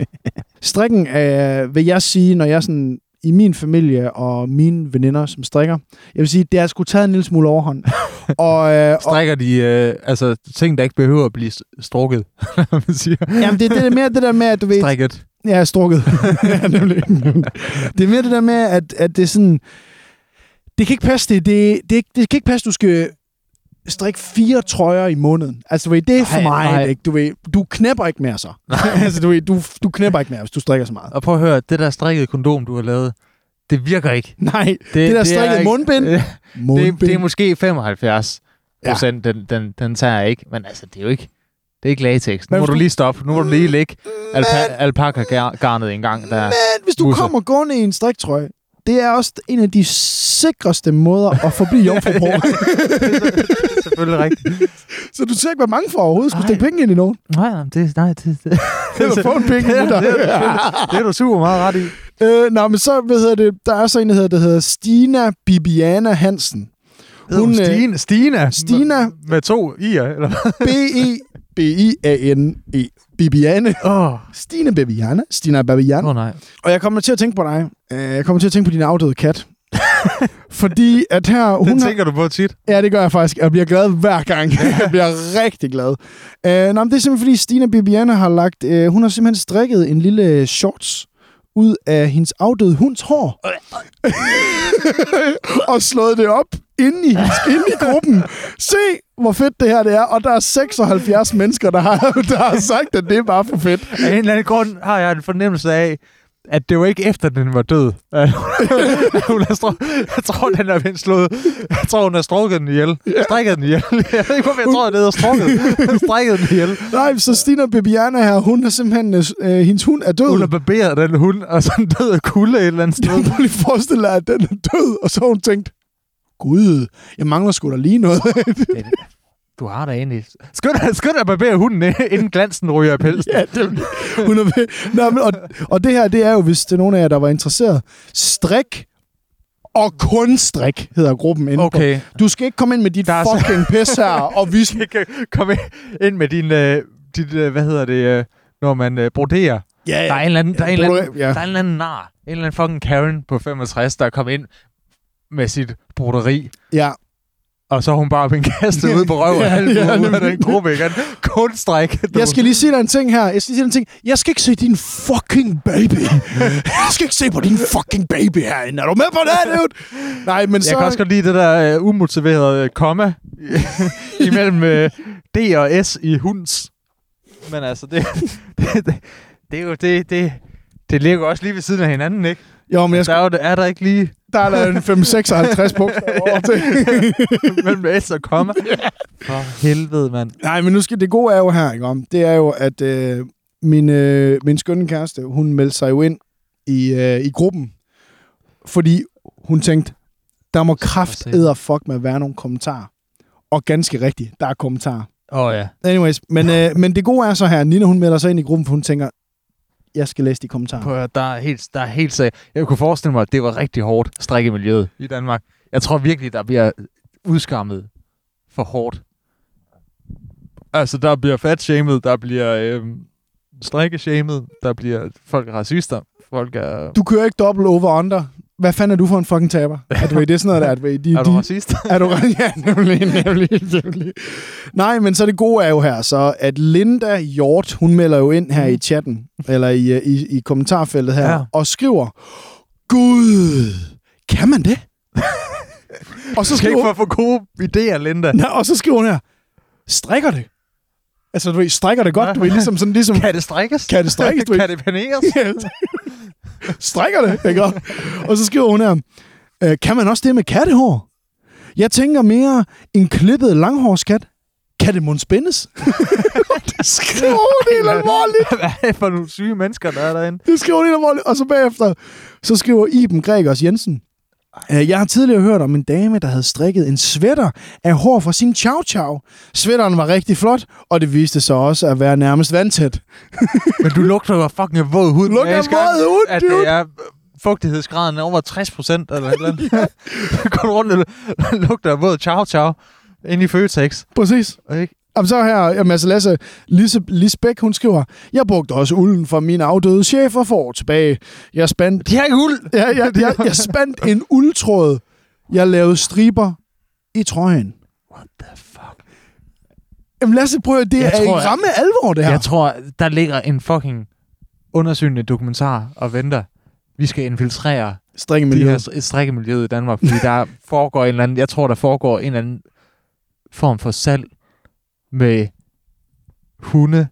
Speaker 2: Strikken, øh, vil jeg sige, når jeg sådan i min familie og mine veninder, som strikker, jeg vil sige, det har sgu taget en lille smule overhånd. og, øh, og,
Speaker 1: Strækker de øh, altså, ting, der ikke behøver at blive s- strukket, man siger.
Speaker 2: jamen, det, det er mere det der med, at du ved,
Speaker 1: Strikket.
Speaker 2: Ja, jeg er strukket. Ja, nemlig. det er mere det der med, at, at det er sådan... Det kan ikke passe, det, det, det, det kan ikke passe, du skal strikke fire trøjer i måneden. Altså, du ved, det er for
Speaker 1: Nej, nej.
Speaker 2: meget, ikke? Du, ved, du knæpper ikke mere så. altså, du, ved, du, du knæpper ikke mere, hvis du strikker så meget.
Speaker 1: Og prøv at høre, det der strikkede kondom, du har lavet, det virker ikke.
Speaker 2: Nej, det, det der
Speaker 1: er
Speaker 2: strikket
Speaker 1: ikke-
Speaker 2: mundbind,
Speaker 1: Øh,
Speaker 2: mundbind.
Speaker 1: Det, det er måske 75
Speaker 2: Ja.
Speaker 1: procent, ja. den, den, den tager jeg ikke. Men altså, det er jo ikke, det er ikke latex. Nu
Speaker 2: Men
Speaker 1: må
Speaker 2: hvis
Speaker 1: du
Speaker 2: du-
Speaker 1: lige stoppe. Nu må du lige lægge alpa-
Speaker 2: men,
Speaker 1: alpaka-garnet en gang. Der.
Speaker 2: men hvis du
Speaker 1: Busser.
Speaker 2: kommer gående i en striktrøje, det er også en af de sikreste måder at forblive jomfru på.
Speaker 1: Selvfølgelig rigtigt.
Speaker 2: Så du ser ikke, hvor mange for overhovedet skulle
Speaker 1: Nej.
Speaker 2: stikke penge ind i nogen.
Speaker 1: Nej, jamen, det, nej, det, det,
Speaker 2: Det er få en penge
Speaker 1: det,
Speaker 2: ind i
Speaker 1: er-
Speaker 2: dig.
Speaker 1: det, er- det er du super meget ret i.
Speaker 2: Øh, nå, men så, hvad hedder det, der er så en, der hedder, der hedder Stina Bibiana Hansen.
Speaker 1: Hedder Hun,
Speaker 2: Hun, øh,
Speaker 1: Stine, Stina.
Speaker 2: Stina.
Speaker 1: Med, med to i'er, eller hvad?
Speaker 2: E B-E-B-I-A-N-E. Bibiane.
Speaker 1: Åh, oh.
Speaker 2: Stine Bibiana. E. Stina Bibiana.
Speaker 1: oh, nej.
Speaker 2: Og jeg kommer til at tænke på dig. Øh, Jeg kommer til at tænke på din afdøde kat. Fordi at her... Hun
Speaker 1: Den
Speaker 2: har,
Speaker 1: tænker du på tit.
Speaker 2: ja, det gør jeg faktisk. Jeg bliver glad hver gang. jeg bliver rigtig glad. Øh, nå, men det er simpelthen, fordi Stina Bibiana har lagt... Øh, hun har simpelthen strikket en lille øh, shorts ud af hendes afdøde hunds hår. og slået det op inde i, inde i gruppen. Se, hvor fedt det her det er. Og der er 76 mennesker, der har, der har sagt, at det er bare for fedt.
Speaker 1: Af en eller anden grund har jeg en fornemmelse af, at det var ikke efter, den var død. at hun har stru- jeg tror, den er blevet slået. Jeg tror, hun har strukket den ihjel. Strikket den ihjel. Jeg ved ikke, hvorfor jeg tror, det hedder strukket. Strikket den ihjel.
Speaker 2: Nej, så Stina Bibiana her, hun er simpelthen... Øh, hendes hund er død.
Speaker 1: Hun har barberet den hund, og sådan død af kulde et eller andet sted.
Speaker 2: Jeg kunne lige forestille dig, at den er død. Og så har hun tænkt, gud, jeg mangler sgu da lige noget.
Speaker 1: Det, du har da egentlig... Skynd dig, skynd dig at barbere hunden, eh, inden glansen ryger af pelsen.
Speaker 2: ja, det, hun er ved. Nå, men, og, og det her, det er jo, hvis det er nogen af jer, der var interesseret, strik og kun strik, hedder gruppen inde på.
Speaker 1: Okay.
Speaker 2: Du skal ikke komme ind med dit
Speaker 1: Der er så-
Speaker 2: fucking pis her, og vi skal...
Speaker 1: Kom ind- ind med din... Øh, dit, øh, hvad hedder det? Øh, når man øh, broderer.
Speaker 2: Ja,
Speaker 1: Der er en eller anden, der er en
Speaker 2: Ja,
Speaker 1: eller anden,
Speaker 2: broder- ja.
Speaker 1: der er en eller anden nar. En eller anden fucking Karen på 65, der er kommet ind med sit broderi.
Speaker 2: ja.
Speaker 1: Og så er hun bare blevet kastet ud på røven
Speaker 2: Ja,
Speaker 1: ja, halv
Speaker 2: ja,
Speaker 1: ja, ud af
Speaker 2: nemlig.
Speaker 1: den gruppe igen. Kun stræk.
Speaker 2: Jeg skal lige sige dig en ting her. Jeg skal lige sige dig en ting. Jeg skal ikke se din fucking baby.
Speaker 1: Mhm.
Speaker 2: Jeg skal ikke se på din fucking baby herinde. Er du med på det, dude? Nej, men
Speaker 1: Jeg
Speaker 2: så...
Speaker 1: kan også godt lide det der uh, umotiverede øh, komma imellem uh, D og S i hunds. Men altså, det, det, det, det er jo det, det, det ligger også lige ved siden af hinanden, ikke?
Speaker 2: Jo, men jeg
Speaker 1: Der
Speaker 2: skal...
Speaker 1: er, jo, er der ikke lige
Speaker 2: der er der en 556 bogstaver over til.
Speaker 1: mellem S og komma? For helvede, mand.
Speaker 2: Nej, men nu skal det gode er jo her, ikke om? Det er jo, at øh, min, øh, min skønne kæreste, hun meldte sig jo ind i, øh, i gruppen, fordi hun tænkte, der må kraft fuck med at være nogle kommentarer. Og ganske rigtigt, der er kommentarer.
Speaker 1: Åh oh, ja.
Speaker 2: Anyways, men, øh, men det gode er så her, at Nina hun melder sig ind i gruppen, for hun tænker, jeg skal læse de kommentarer.
Speaker 1: Prøv, at høre, der er helt, der er helt sag. Jeg kunne forestille mig, at det var rigtig hårdt stræk i miljøet i Danmark. Jeg tror virkelig, der bliver udskammet for hårdt. Altså, der bliver fatshamed, der bliver øhm, strikkeshamed, der bliver folk er racister, folk er...
Speaker 2: Du kører ikke dobbelt over under. Hvad fanden er du for en fucking taber? At du det er sådan noget, der er, at du ved, de,
Speaker 1: Er du
Speaker 2: de,
Speaker 1: racist?
Speaker 2: er du Ja, nemlig, nemlig, nemlig. Nej, men så det gode er jo her, så at Linda Hjort, hun melder jo ind her i chatten, eller i, øh, i, i kommentarfeltet her,
Speaker 1: Mm. Ja.
Speaker 2: og skriver, Gud, kan man det? og så
Speaker 1: Du skal
Speaker 2: skriver,
Speaker 1: ikke få for gode idéer, Linda.
Speaker 2: Nå, og så skriver hun her, strikker det? Altså, du ved, strikker det godt, du ved, ligesom sådan, ligesom,
Speaker 1: Kan det strikkes?
Speaker 2: Kan det strikkes, du
Speaker 1: kan
Speaker 2: ikke?
Speaker 1: det paneres?
Speaker 2: strikker det, ikke? Og- Og så skriver hun her, øh, kan man også det med kattehår? Jeg tænker mere, en klippet langhårskat, kan det måske spændes? det skriver hun helt alvorligt.
Speaker 1: Hvad er det for nogle syge mennesker, der er derinde?
Speaker 2: Det skriver hun helt alvorligt. Og så bagefter, så skriver Iben Gregers Jensen, "Øh, jeg har tidligere hørt om en dame, der havde strikket en sweater af hår fra sin chow chow. Sweateren var rigtig flot, og det viste sig også at være nærmest vandtæt.
Speaker 1: Men du lugter jo fucking af våd hud.
Speaker 2: Lugter
Speaker 1: Jeg elsker,
Speaker 2: af våd hud,
Speaker 1: At
Speaker 2: dude.
Speaker 1: det er fugtighedsgraden er over 60 procent eller et eller andet. Så går du rundt og lugter af våd chow chow ind i Føtex.
Speaker 2: Præcis.
Speaker 1: Ikke?
Speaker 2: Jamen så her, jamen, altså Lasse, Lise, Lise Bæk, hun skriver, jeg brugte også ulden fra mine afdøde chefer for år tilbage. Jeg spandt,
Speaker 1: De har ikke hul.
Speaker 2: jeg, jeg, jeg, jeg spandt en uldtråd. Jeg lavede striber i trøjen.
Speaker 1: What the fuck?
Speaker 2: Jamen Lasse, prøv at det
Speaker 1: Jeg
Speaker 2: er
Speaker 1: tror,
Speaker 2: i
Speaker 1: jeg-
Speaker 2: ramme alvor, det
Speaker 1: Ja.
Speaker 2: her.
Speaker 1: Jeg tror, der ligger en fucking undersøgende dokumentar og venter. Vi skal infiltrere
Speaker 2: Strikke
Speaker 1: de
Speaker 2: miljøet.
Speaker 1: her st- strikkemiljøet i Danmark, fordi der foregår en eller anden, jeg tror, der foregår en eller anden form for salg med hunde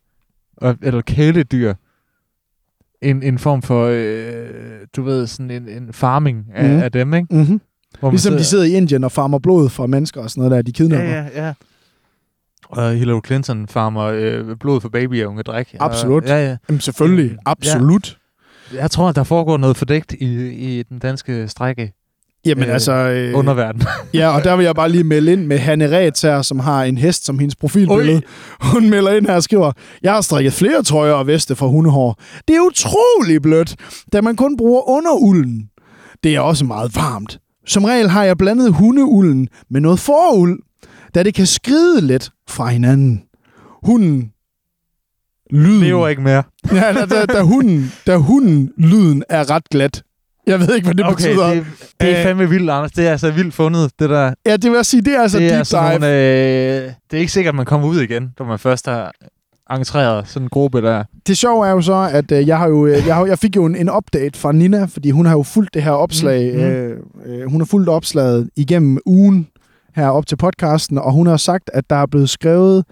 Speaker 1: og, eller kæledyr. En, en form for, øh, du ved, sådan en, en farming af,
Speaker 2: Mhm.
Speaker 1: mm. af dem, ikke?
Speaker 2: Mm-hmm.
Speaker 1: Hvor man
Speaker 2: Ligesom de sidder i Indien og farmer blod fra mennesker og sådan noget der, de kidnapper.
Speaker 1: Ja, ja, ja. Og Hillary Clinton farmer øh, blod for babyer og unge drik.
Speaker 2: Absolut.
Speaker 1: Og, ja, ja.
Speaker 2: Jamen selvfølgelig, absolut. Ja.
Speaker 1: Jeg tror, der foregår noget fordækt i, i den danske strække
Speaker 2: Jamen
Speaker 1: Øh,
Speaker 2: altså... Øh,
Speaker 1: underverden.
Speaker 2: Ja, og der vil jeg bare lige melde ind med Hanne Rets her, som har en hest som hendes profilbillede. Hun melder ind her og skriver, Jeg har strikket flere trøjer og veste fra hundehår. Det er utrolig blødt, da man kun bruger underulden. Det er også meget varmt. Som regel har jeg blandet hundeulden med noget foruld, da det kan skride lidt fra hinanden. Hunden lyden.
Speaker 1: Lever ikke mere.
Speaker 2: Ja, da, da, da, hunden, da hunden lyden er ret glat. Jeg ved ikke, hvad det
Speaker 1: Okay,
Speaker 2: betyder.
Speaker 1: det, det er
Speaker 2: Øh,
Speaker 1: fandme vildt, Anders. Det er altså vildt fundet, det der.
Speaker 2: Ja, det vil jeg sige, det er altså
Speaker 1: det, er
Speaker 2: deep dive.
Speaker 1: sådan nogle, øh, det er ikke sikkert, at man kommer ud igen, når man først har entreret sådan en gruppe der.
Speaker 2: det sjove er jo så, at øh, jeg, har jo, øh, jeg, har, jeg fik jo en, en update fra Nina, fordi hun har jo fulgt det her opslag. Mm.
Speaker 1: Mhm.
Speaker 2: Øh, øh, hun har fulgt opslaget igennem ugen her op til podcasten, og hun har sagt, at der er blevet skrevet,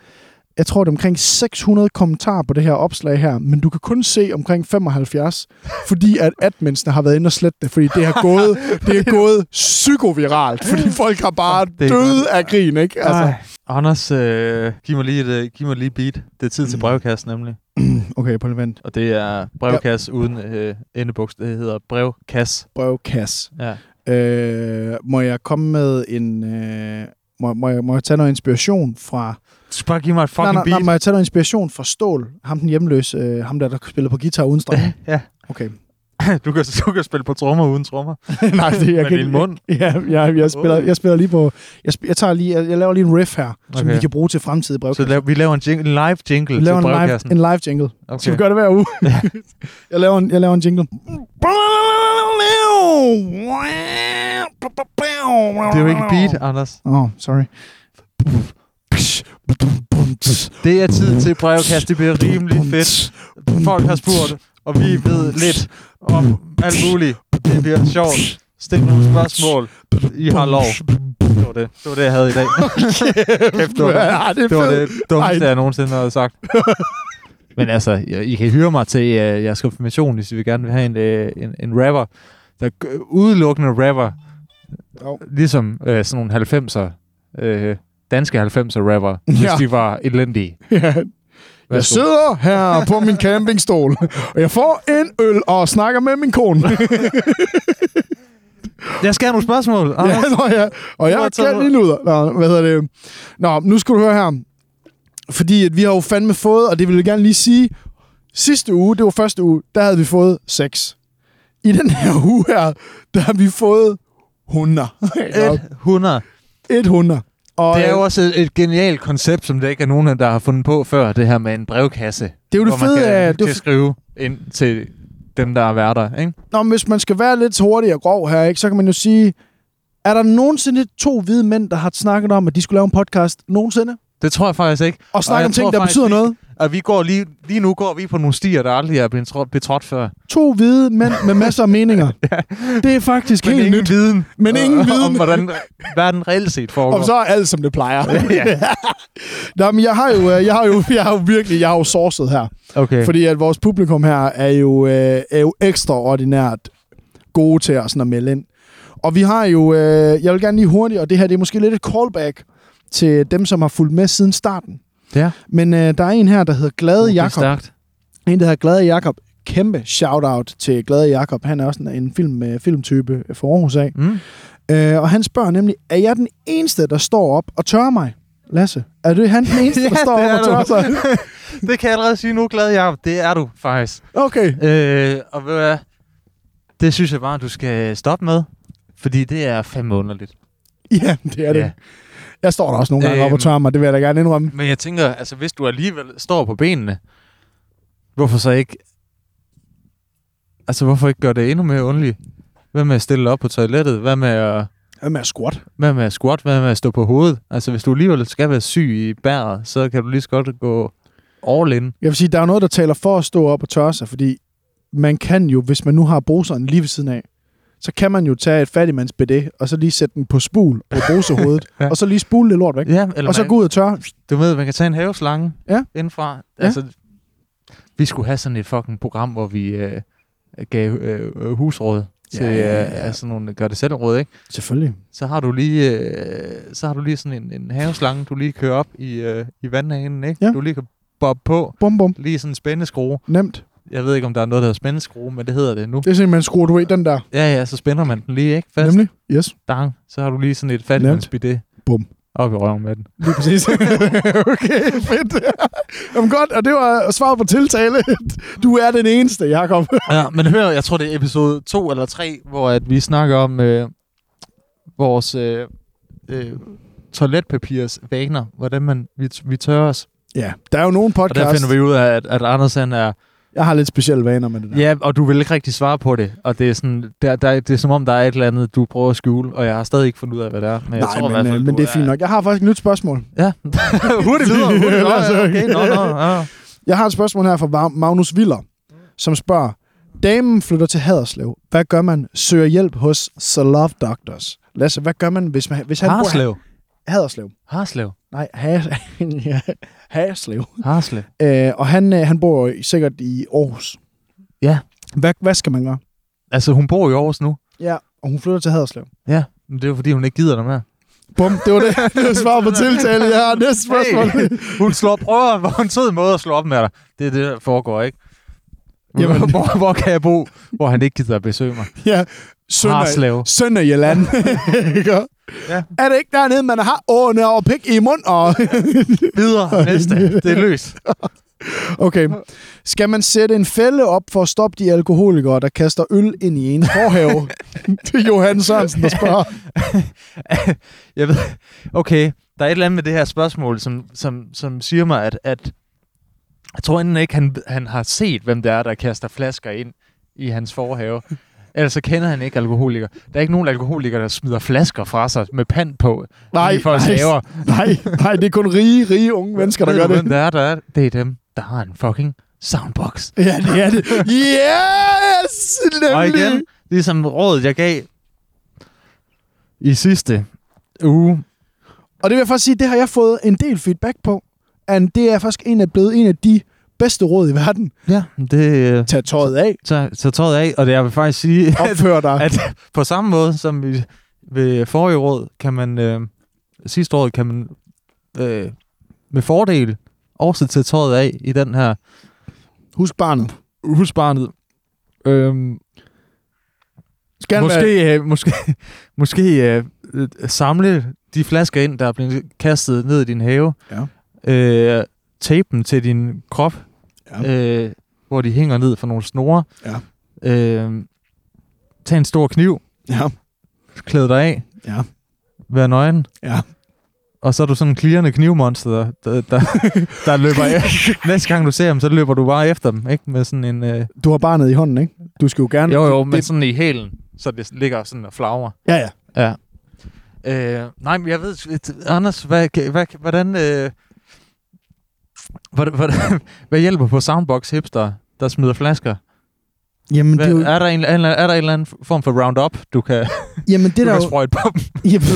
Speaker 2: jeg tror det er omkring 600 kommentarer på det her opslag her, men du kan kun se omkring 75, fordi at adminsene har været inde og slettet det, fordi det har gået, det er gået psykoviralt, fordi folk har bare
Speaker 1: er
Speaker 2: døde af grin, ikke? Altså,
Speaker 1: Ej. Anders, øh, giv, mig lige et, øh, giv mig lige et beat. Det er tid
Speaker 2: Mm.
Speaker 1: til brevkast nemlig.
Speaker 2: okay, på vent.
Speaker 1: Og det er brevkast uden øh, endebogst. Det hedder brevkast.
Speaker 2: Brevkasse.
Speaker 1: Ja.
Speaker 2: Øh, må jeg komme med en... Øh, må, må, jeg, må jeg tage noget inspiration fra...
Speaker 1: Du skal bare give mig et
Speaker 2: nej,
Speaker 1: fucking
Speaker 2: nej, nej,
Speaker 1: beat.
Speaker 2: må jeg tage noget inspiration fra Stål? Ham den hjemløse, øh, ham der, der spiller på guitar uden strenge.
Speaker 1: ja.
Speaker 2: Okay.
Speaker 1: Du kan, du kan spille på trommer uden trommer.
Speaker 2: nej, det, jeg
Speaker 1: Med din mund.
Speaker 2: Ja, jeg, jeg, spiller, jeg spiller lige på... Jeg, sp- jeg, tager lige, jeg, jeg laver lige en riff her, som
Speaker 1: Okay.
Speaker 2: vi kan bruge til fremtidige brevkasser.
Speaker 1: Så laver, vi laver en, jingle, en live jingle
Speaker 2: Jeg laver
Speaker 1: til
Speaker 2: en live,
Speaker 1: brevkassen.
Speaker 2: en live jingle. Okay. Så vi gør det hver uge. jeg, laver en, jeg laver en jingle.
Speaker 1: Det er jo ikke et beat, Anders.
Speaker 2: Åh, oh, sorry.
Speaker 1: Det er tid til brevkast. Det bliver rimelig fedt. Folk har spurgt, og vi ved lidt om alt muligt. Det bliver sjovt. Stil nogle spørgsmål. I har lov. Det var det, det, var det jeg havde i dag. Kæft, det var det.
Speaker 2: Ja, det,
Speaker 1: Det var
Speaker 2: det.
Speaker 1: det dummeste,
Speaker 2: Ej.
Speaker 1: jeg nogensinde havde sagt. Men altså, jeg- I kan hyre mig til øh, jeres konfirmation, hvis I vil gerne vil have en, øh, en, en rapper, der g- udelukkende rapper,
Speaker 2: Jo.
Speaker 1: ligesom øh, sådan nogle 90'er, øh, danske 90'er rapper, hvis
Speaker 2: Ja.
Speaker 1: de var elendige.
Speaker 2: Jeg
Speaker 1: Værsgo.
Speaker 2: sidder her på min campingstol, og jeg får en øl og snakker med min kone.
Speaker 1: Jeg skal have nogle spørgsmål. Anders.
Speaker 2: ja, nå, ja. Og jeg
Speaker 1: Bare tag
Speaker 2: kan
Speaker 1: ud.
Speaker 2: lige luder. Nå, hvad hedder det? Nå, nu skal du høre her. Fordi at vi har jo fandme fået, og det vil jeg gerne lige sige, sidste uge, det var første uge, der havde vi fået 6. I den her uge her, der har vi fået 100. Eller
Speaker 1: 100.
Speaker 2: 100. Og
Speaker 1: Det er
Speaker 2: øh,
Speaker 1: jo også et, et genialt koncept, som der ikke er nogen, der har fundet på før, det her med en brevkasse.
Speaker 2: Det er jo det
Speaker 1: hvor man
Speaker 2: fede
Speaker 1: kan,
Speaker 2: af- det er
Speaker 1: kan
Speaker 2: f-
Speaker 1: skrive ind til dem, der er værter, ikke?
Speaker 2: Nå, men hvis man skal være lidt hurtig og grov her, ikke, så kan man jo sige, er der nogensinde to hvide mænd, der har snakket om, at de skulle lave en podcast nogensinde?
Speaker 1: Det tror jeg faktisk ikke.
Speaker 2: Og snakke
Speaker 1: jeg
Speaker 2: om
Speaker 1: tror
Speaker 2: ting, der
Speaker 1: faktisk
Speaker 2: betyder
Speaker 1: ikke-
Speaker 2: noget?
Speaker 1: Og vi går lige, lige nu går vi på nogle stier, der aldrig er blevet trådt, betrådt før.
Speaker 2: To hvide mænd med masser af meninger. Det er faktisk
Speaker 1: Men
Speaker 2: helt
Speaker 1: ingen
Speaker 2: nyt.
Speaker 1: viden.
Speaker 2: Men
Speaker 1: øh,
Speaker 2: ingen
Speaker 1: Om
Speaker 2: viden.
Speaker 1: hvordan verden reelt set foregår.
Speaker 2: Og så er alt, som det plejer.
Speaker 1: Ja.
Speaker 2: Nå, men jeg har jo, øh, jeg har jo, jeg har jo virkelig, jeg har jo sourcet her.
Speaker 1: Okay.
Speaker 2: Fordi at vores publikum her er jo, øh, er jo ekstraordinært gode til at, sådan at melde ind. Og vi har jo, øh, jeg vil gerne lige hurtigt, og det her det er måske lidt et callback til dem, som har fulgt med siden starten.
Speaker 1: Ja.
Speaker 2: Men øh, der er en her, der hedder Glade Jakob.
Speaker 1: Stærkt.
Speaker 2: En, der hedder Glade Jakob. Kæmpe shout-out til Glade Jakob. Han er også en, en film, øh, filmtype fra Aarhus af.
Speaker 1: Mm.
Speaker 2: Øh, og han spørger nemlig, er jeg den eneste, der står op og tørrer mig? Lasse, er det han den eneste, der
Speaker 1: Ja,
Speaker 2: står
Speaker 1: det
Speaker 2: op
Speaker 1: er
Speaker 2: og tørrer sig?
Speaker 1: Det kan jeg allerede sige nu, glad Jacob. Det er du faktisk.
Speaker 2: Okay.
Speaker 1: Øh, og ved du hvad? Det synes jeg bare, du skal stoppe med. Fordi det er fandme underligt.
Speaker 2: Ja, det er det.
Speaker 1: Ja.
Speaker 2: Jeg står der også nogle gange
Speaker 1: Øhm.
Speaker 2: op og tørrer mig, det vil jeg da gerne indrømme.
Speaker 1: Men jeg tænker, altså hvis du alligevel står på benene, hvorfor så ikke... Altså hvorfor ikke gøre det endnu mere underligt? Hvad med at stille op på toilettet? Hvad med at,
Speaker 2: Hvad med at squat?
Speaker 1: hvad med at squat? Hvad med at stå på hovedet? Altså hvis du alligevel skal være syg i bæret, så kan du lige så godt gå all in.
Speaker 2: Jeg vil sige, der er noget, der taler for at stå op og tørre sig, fordi man kan jo, hvis man nu har bruseren lige ved siden af, så kan man jo tage et fattigmands BD, og så lige sætte den på spul på brusehovedet,
Speaker 1: Ja.
Speaker 2: ja. og så lige spule det lort væk.
Speaker 1: Ja, eller
Speaker 2: og så
Speaker 1: man,
Speaker 2: gå ud og tørre.
Speaker 1: du ved, man kan tage en haveslange
Speaker 2: Ja.
Speaker 1: indfra.
Speaker 2: Ja.
Speaker 1: Altså, vi skulle have sådan et fucking program, hvor vi øh, gav øh, husråd til
Speaker 2: Ja,
Speaker 1: ja,
Speaker 2: ja,
Speaker 1: ja,
Speaker 2: ja, ja.
Speaker 1: ja. sådan nogle gør-det-selv-råd, ikke?
Speaker 2: Selvfølgelig.
Speaker 1: så har du lige øh, så har du lige sådan en, en haveslange, du lige kører op i, øh, i vandhanen, ikke?
Speaker 2: Ja.
Speaker 1: Du lige kan bobbe på,
Speaker 2: Bum, bum.
Speaker 1: lige sådan en spændeskrue.
Speaker 2: Nemt.
Speaker 1: Jeg ved ikke, om der er noget, der hedder spændeskrue, men det hedder det nu.
Speaker 2: Det er simpelthen skruer du i den der.
Speaker 1: Ja, ja, så spænder man den lige, ikke? Fast.
Speaker 2: Nemlig. Yes.
Speaker 1: Dang, så har du lige sådan et fattigmandsbidé.
Speaker 2: Bum.
Speaker 1: Op i røven med den.
Speaker 2: Lige præcis. okay, fedt. Jamen godt, og det var svaret på tiltale. Du er den eneste, Jakob.
Speaker 1: Ja, men hør, jeg tror, det er episode 2 eller 3, hvor at vi snakker om øh, vores øh, øh, toiletpapirs vaner, hvordan man, vi, vi tørrer os.
Speaker 2: Ja, der er jo nogen
Speaker 1: Og der
Speaker 2: podcast.
Speaker 1: finder vi ud af, at, at Anders han er
Speaker 2: Jeg har lidt specielle vaner med det der.
Speaker 1: Ja, og du vil ikke rigtig svare på det. Og det er, sådan, der, der, det er som om, der er et eller andet, du prøver at skjule, og jeg har stadig ikke fundet ud af, hvad det er. Men jeg
Speaker 2: Nej,
Speaker 1: tror, i hvert
Speaker 2: men,
Speaker 1: fald,
Speaker 2: øh, men
Speaker 1: du
Speaker 2: det er fint nok. Jeg har faktisk et nyt spørgsmål.
Speaker 1: Ja, hurtigt videre. Hurtigt videre.
Speaker 2: Ellers
Speaker 1: Ja,
Speaker 2: så-
Speaker 1: okay, nå, nå, ja.
Speaker 2: Jeg har et spørgsmål her fra Vag- Magnus Viller, som spørger, damen flytter til Haderslev. Hvad gør man? Søger hjælp hos The Love Doctors. Lasse, hvad gør man, hvis, man, hvis han bor...
Speaker 1: Harslev.
Speaker 2: Haderslev.
Speaker 1: Harslev.
Speaker 2: Nej, ha- ja, Haderslev.
Speaker 1: Harslev.
Speaker 2: Øh, og han, øh, han bor jo sikkert i Aarhus.
Speaker 1: Ja.
Speaker 2: Hvad, hvad skal man gøre?
Speaker 1: Altså, hun bor i Aarhus nu.
Speaker 2: Ja, og hun flytter til Haderslev.
Speaker 1: Ja, men det er jo fordi, hun ikke gider dig mere.
Speaker 2: Bum, det var det. det var svar på tiltale. Jeg har næste spørgsmål.
Speaker 1: Hey, hun slår, prøver på en sød måde at slå op med dig. Det er det, der foregår, ikke?
Speaker 2: Jamen.
Speaker 1: Jamen. Hvor, hvor kan jeg bo, hvor han ikke gider at besøge mig?
Speaker 2: Ja,
Speaker 1: Harslev.
Speaker 2: Sønder, Sønder Jylland. Ikke?
Speaker 1: Ja.
Speaker 2: Er det ikke dernede, man har åne og pik i mund? Og
Speaker 1: Videre. Næste. Det er løst.
Speaker 2: okay. Skal man sætte en fælde op for at stoppe de alkoholikere, der kaster øl ind i en forhave? det er Johan Sørensen, der spørger.
Speaker 1: jeg ved, okay, der er et eller andet med det her spørgsmål, som, som, som siger mig, at, at jeg tror enten ikke, han, han har set, hvem det er, der kaster flasker ind i hans forhave. Ellers så kender han ikke alkoholikere. Der er ikke nogen alkoholikere, der smider flasker fra sig med pand på
Speaker 2: Nej,
Speaker 1: i folks
Speaker 2: nej.
Speaker 1: haver.
Speaker 2: Nej, nej, det er kun rige, rige unge mennesker, der
Speaker 1: Ved
Speaker 2: gør
Speaker 1: du,
Speaker 2: det.
Speaker 1: Hvem det er, der er? Det er dem, der har en fucking soundbox.
Speaker 2: Ja, det er det. Yes!
Speaker 1: Og
Speaker 2: Nemlig.
Speaker 1: igen, ligesom rådet, jeg gav i sidste uge.
Speaker 2: Og det vil jeg faktisk sige, det har jeg fået en del feedback på. And det er faktisk en af blevet en af de bedste råd i verden.
Speaker 1: Ja, det øh,
Speaker 2: Tag tøjet af.
Speaker 1: så, så tøjet af, og det jeg vil faktisk sige,
Speaker 2: Opfør dig.
Speaker 1: at på samme måde som i, ved forrige råd, kan man, øh, sidste råd, kan man øh, med fordel også tage tøjet af i den her
Speaker 2: Husk barnet.
Speaker 1: husbarnet. Øhm,
Speaker 2: Skal Være,
Speaker 1: måske øh, måske, måske øh, øh, samle de flasker ind, der er blevet kastet ned i din have.
Speaker 2: Ja.
Speaker 1: Øh, tape dem til din krop, ja. øh, hvor de hænger ned fra nogle snore.
Speaker 2: Ja.
Speaker 1: Øh, tag en stor kniv,
Speaker 2: ja.
Speaker 1: klæd dig af,
Speaker 2: Ja.
Speaker 1: vær nøgen.
Speaker 2: Ja.
Speaker 1: Og så er du sådan en klirrende knivmonster, der, der, der, der løber af. Næste gang du ser dem, så løber du bare efter dem, ikke? Med sådan en... Øh,
Speaker 2: Du har barnet i hånden, ikke? Du skal jo gerne...
Speaker 1: jo, jo, men
Speaker 2: det,
Speaker 1: sådan i hælen, så det ligger sådan og flagrer.
Speaker 2: Ja, ja.
Speaker 1: Ja. Øh, nej, men jeg ved... sgu ikke- Anders, hvad, kan- hvad, hvordan... Øh, hvordan, hvordan, hvad hjælper på Soundbox hipster, der smider flasker?
Speaker 2: Jamen,
Speaker 1: Hvad,
Speaker 2: det er, jo,
Speaker 1: er, der en, en, er der en eller anden form for roundup, du kan,
Speaker 2: jamen, det
Speaker 1: du
Speaker 2: er der
Speaker 1: kan
Speaker 2: jo...
Speaker 1: sprøjte på dem?
Speaker 2: Jamen,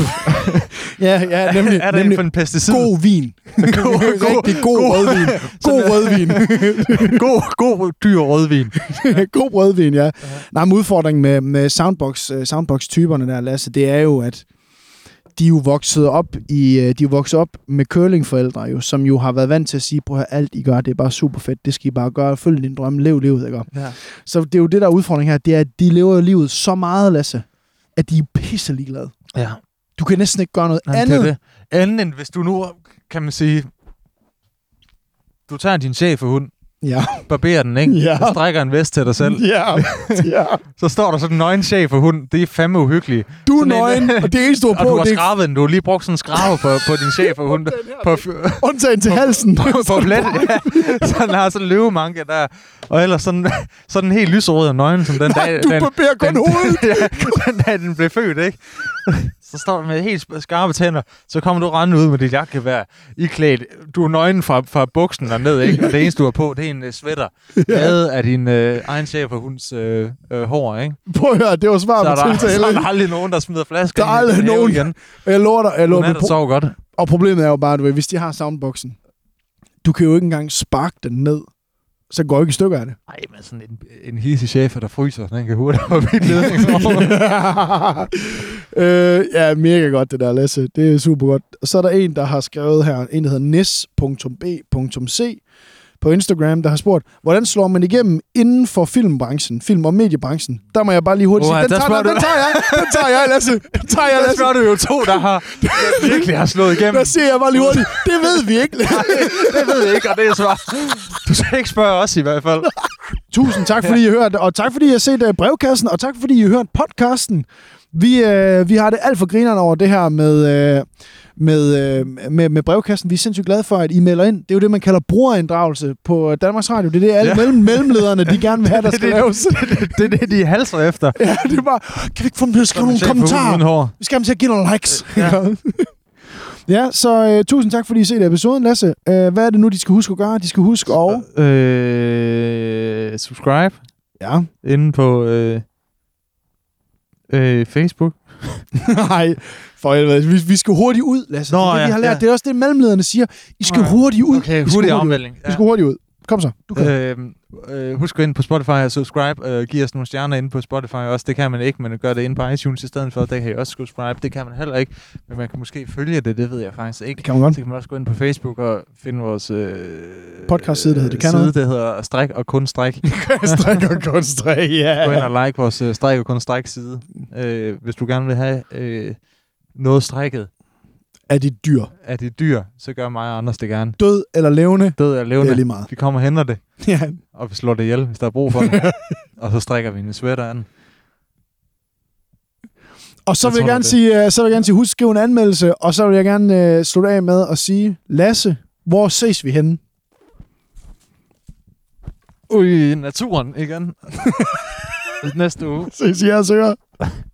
Speaker 2: ja, ja, nemlig.
Speaker 1: er der en
Speaker 2: nemlig
Speaker 1: for en pesticid?
Speaker 2: god vin.
Speaker 1: god,
Speaker 2: Rigtig god,
Speaker 1: god-
Speaker 2: rødvin. God rødvin.
Speaker 1: god, god dyr rødvin.
Speaker 2: god rødvin, ja. Nej, men udfordringen med, med soundbox, øh, soundbox-typerne der, Lasse, det er jo, at de er jo vokset op, i, øh, de er jo vokset op med curlingforældre, jo, som jo har været vant til at sige, prøv at høre, alt I gør, det er bare super fedt, det skal I bare gøre, følg din drøm, lev livet, ikke?
Speaker 1: Ja.
Speaker 2: Så det er jo det, der er udfordringen her, det er, at de lever livet så meget, Lasse, at de er pisse ligeglade.
Speaker 1: ja.
Speaker 2: Du kan næsten ikke gøre noget
Speaker 1: Jamen,
Speaker 2: andet.
Speaker 1: andet. Det er det. Andet end hvis du nu, kan man sige, du tager din schæferhund,
Speaker 2: Ja,
Speaker 1: barberer den, ikke?
Speaker 2: Ja.
Speaker 1: Og strækker en vest til dig selv.
Speaker 2: ja, ja.
Speaker 1: Så står der sådan en nøgen schæferhund. Det er fandme uhyggeligt.
Speaker 2: Du er
Speaker 1: Sådan en- øh,
Speaker 2: nøgen, og det eneste, du har
Speaker 1: Og du
Speaker 2: på,
Speaker 1: har
Speaker 2: det er
Speaker 1: skrabet den. Du har lige brugt sådan en skrave på, på din schæferhund. på, f-
Speaker 2: undtagen til halsen.
Speaker 1: på, på plet. Ja. Så den har sådan en løvemanke der. Og ellers sådan, sådan helt lyserød og nøgen, som den dag...
Speaker 2: Du
Speaker 1: den,
Speaker 2: barberer kun
Speaker 1: den-
Speaker 2: hovedet.
Speaker 1: ja, den dag, den blev født, ikke? Så står den med helt sp- skarpe tænder, så kommer du rendende ud med dit jakkevær, i klædt. Du er nøgen fra, fra buksen og ned, ikke? Og det eneste, du har på, det er en uh, sweater. Lavet af din øh, egen chef og hunds øh, øh, hår, ikke?
Speaker 2: Prøv at høre, det var svar
Speaker 1: Så er,
Speaker 2: på
Speaker 1: der, så er
Speaker 2: tiltale.
Speaker 1: der aldrig nogen, der smider flasker.
Speaker 2: Der er
Speaker 1: ind i
Speaker 2: aldrig
Speaker 1: din have
Speaker 2: nogen.
Speaker 1: Igen.
Speaker 2: Og jeg lover dig, jeg
Speaker 1: Hun
Speaker 2: lover
Speaker 1: er
Speaker 2: dig.
Speaker 1: der sover godt.
Speaker 2: Og problemet er jo bare, at hvis de har soundboxen, du kan jo ikke engang sparke den ned, så går ikke i stykker af det.
Speaker 1: Nej, men sådan en, en hissig chef, der fryser, den kan hurtigt op i ledning.
Speaker 2: øh, ja, mega godt det der, Lasse. Det er super godt. Og så er der en, der har skrevet her, en der hedder nis.b.c på Instagram, der har spurgt, hvordan slår man igennem inden for filmbranchen, film- og mediebranchen? Der må jeg bare lige hurtigt
Speaker 1: Uha,
Speaker 2: sige, den
Speaker 1: der
Speaker 2: tager,
Speaker 1: spørger
Speaker 2: den,
Speaker 1: du-
Speaker 2: den tager jeg, den tager jeg, Lasse. Den tager jeg,
Speaker 1: Der
Speaker 2: Lasse.
Speaker 1: spørger du jo to, der har der virkelig har slået igennem.
Speaker 2: Der siger jeg bare lige hurtigt, det ved vi ikke.
Speaker 1: det ved jeg ikke, og det er svar. Du skal ikke spørge os i hvert fald.
Speaker 2: Tusind tak, fordi I hørte, og tak, fordi I har set uh, brevkassen, og tak, fordi I har hørt podcasten. Vi, øh, vi har det alt for grinerne over det her med, øh, med, øh, med, med brevkassen. Vi er sindssygt glade for, at I melder ind. Det er jo det, man kalder brugerinddragelse på øh, Danmarks Radio. Det er det,
Speaker 1: Ja.
Speaker 2: alle ja. mellem, mellemlederne de gerne vil have, der
Speaker 1: Det er
Speaker 2: skal
Speaker 1: det.
Speaker 2: laves.
Speaker 1: Det er det, de halser efter.
Speaker 2: ja, det er bare, kan vi ikke få dem til at skrive nogle kommentarer?
Speaker 1: Hår.
Speaker 2: Vi skal have dem til at give nogle likes.
Speaker 1: Ja.
Speaker 2: Ja, ja så øh, tusind tak, fordi I set episoden, Lasse. Øh, hvad er det nu, de skal huske at gøre? De skal huske at...
Speaker 1: Øh, subscribe
Speaker 2: Ja.
Speaker 1: inde på øh, øh, Facebook.
Speaker 2: Nej, for helvede. Vi, vi skal hurtigt ud, Lasse. Nå, det er
Speaker 1: Nå,
Speaker 2: det, ja,
Speaker 1: ja,
Speaker 2: vi har lært.
Speaker 1: ja.
Speaker 2: Ja. Det er også det, mellemlederne siger. I skal
Speaker 1: Nå, ja.
Speaker 2: hurtigt ud.
Speaker 1: Okay,
Speaker 2: I skal
Speaker 1: hurtig omvælling.
Speaker 2: I skal hurtigt ud. Kom så. Du kan. Øh.
Speaker 1: Øhm, øh, husk at gå ind på Spotify og subscribe. Øh, giv os nogle stjerner inde på Spotify også. Det kan man ikke, men gør det inde på iTunes i stedet for. Der kan I også subscribe. Det kan man heller ikke. Men man kan måske følge det, det ved jeg faktisk ikke.
Speaker 2: Det kan man godt.
Speaker 1: Så kan man også gå ind på Facebook og finde vores øh,
Speaker 2: Podcast-side, der hedder Det Kan
Speaker 1: side,
Speaker 2: Noget.
Speaker 1: der hedder Stræk og Kun Stræk.
Speaker 2: stræk og kun stræk,
Speaker 1: Gå ind
Speaker 2: ja.
Speaker 1: og like vores øh, Stræk og Kun Stræk side, øh, hvis du gerne vil have øh, noget strækket
Speaker 2: Er de dyr?
Speaker 1: af dit dyr, så gør mig og Anders det gerne.
Speaker 2: Død eller levende?
Speaker 1: Død er
Speaker 2: Det
Speaker 1: levende.
Speaker 2: er lige meget.
Speaker 1: Vi kommer og henter det,
Speaker 2: Ja.
Speaker 1: og vi slår det ihjel, hvis der er brug for det. og så strikker vi en sweater an.
Speaker 2: Og så
Speaker 1: Jeg
Speaker 2: vil jeg,
Speaker 1: tror,
Speaker 2: gerne
Speaker 1: det er
Speaker 2: sige, øh, så vil jeg gerne sige, husk at skrive en anmeldelse, og så vil jeg gerne øh, slutte af med at sige, Lasse, hvor ses vi henne?
Speaker 1: Ude i naturen igen. Næste uge.
Speaker 2: Ses i jeres ører.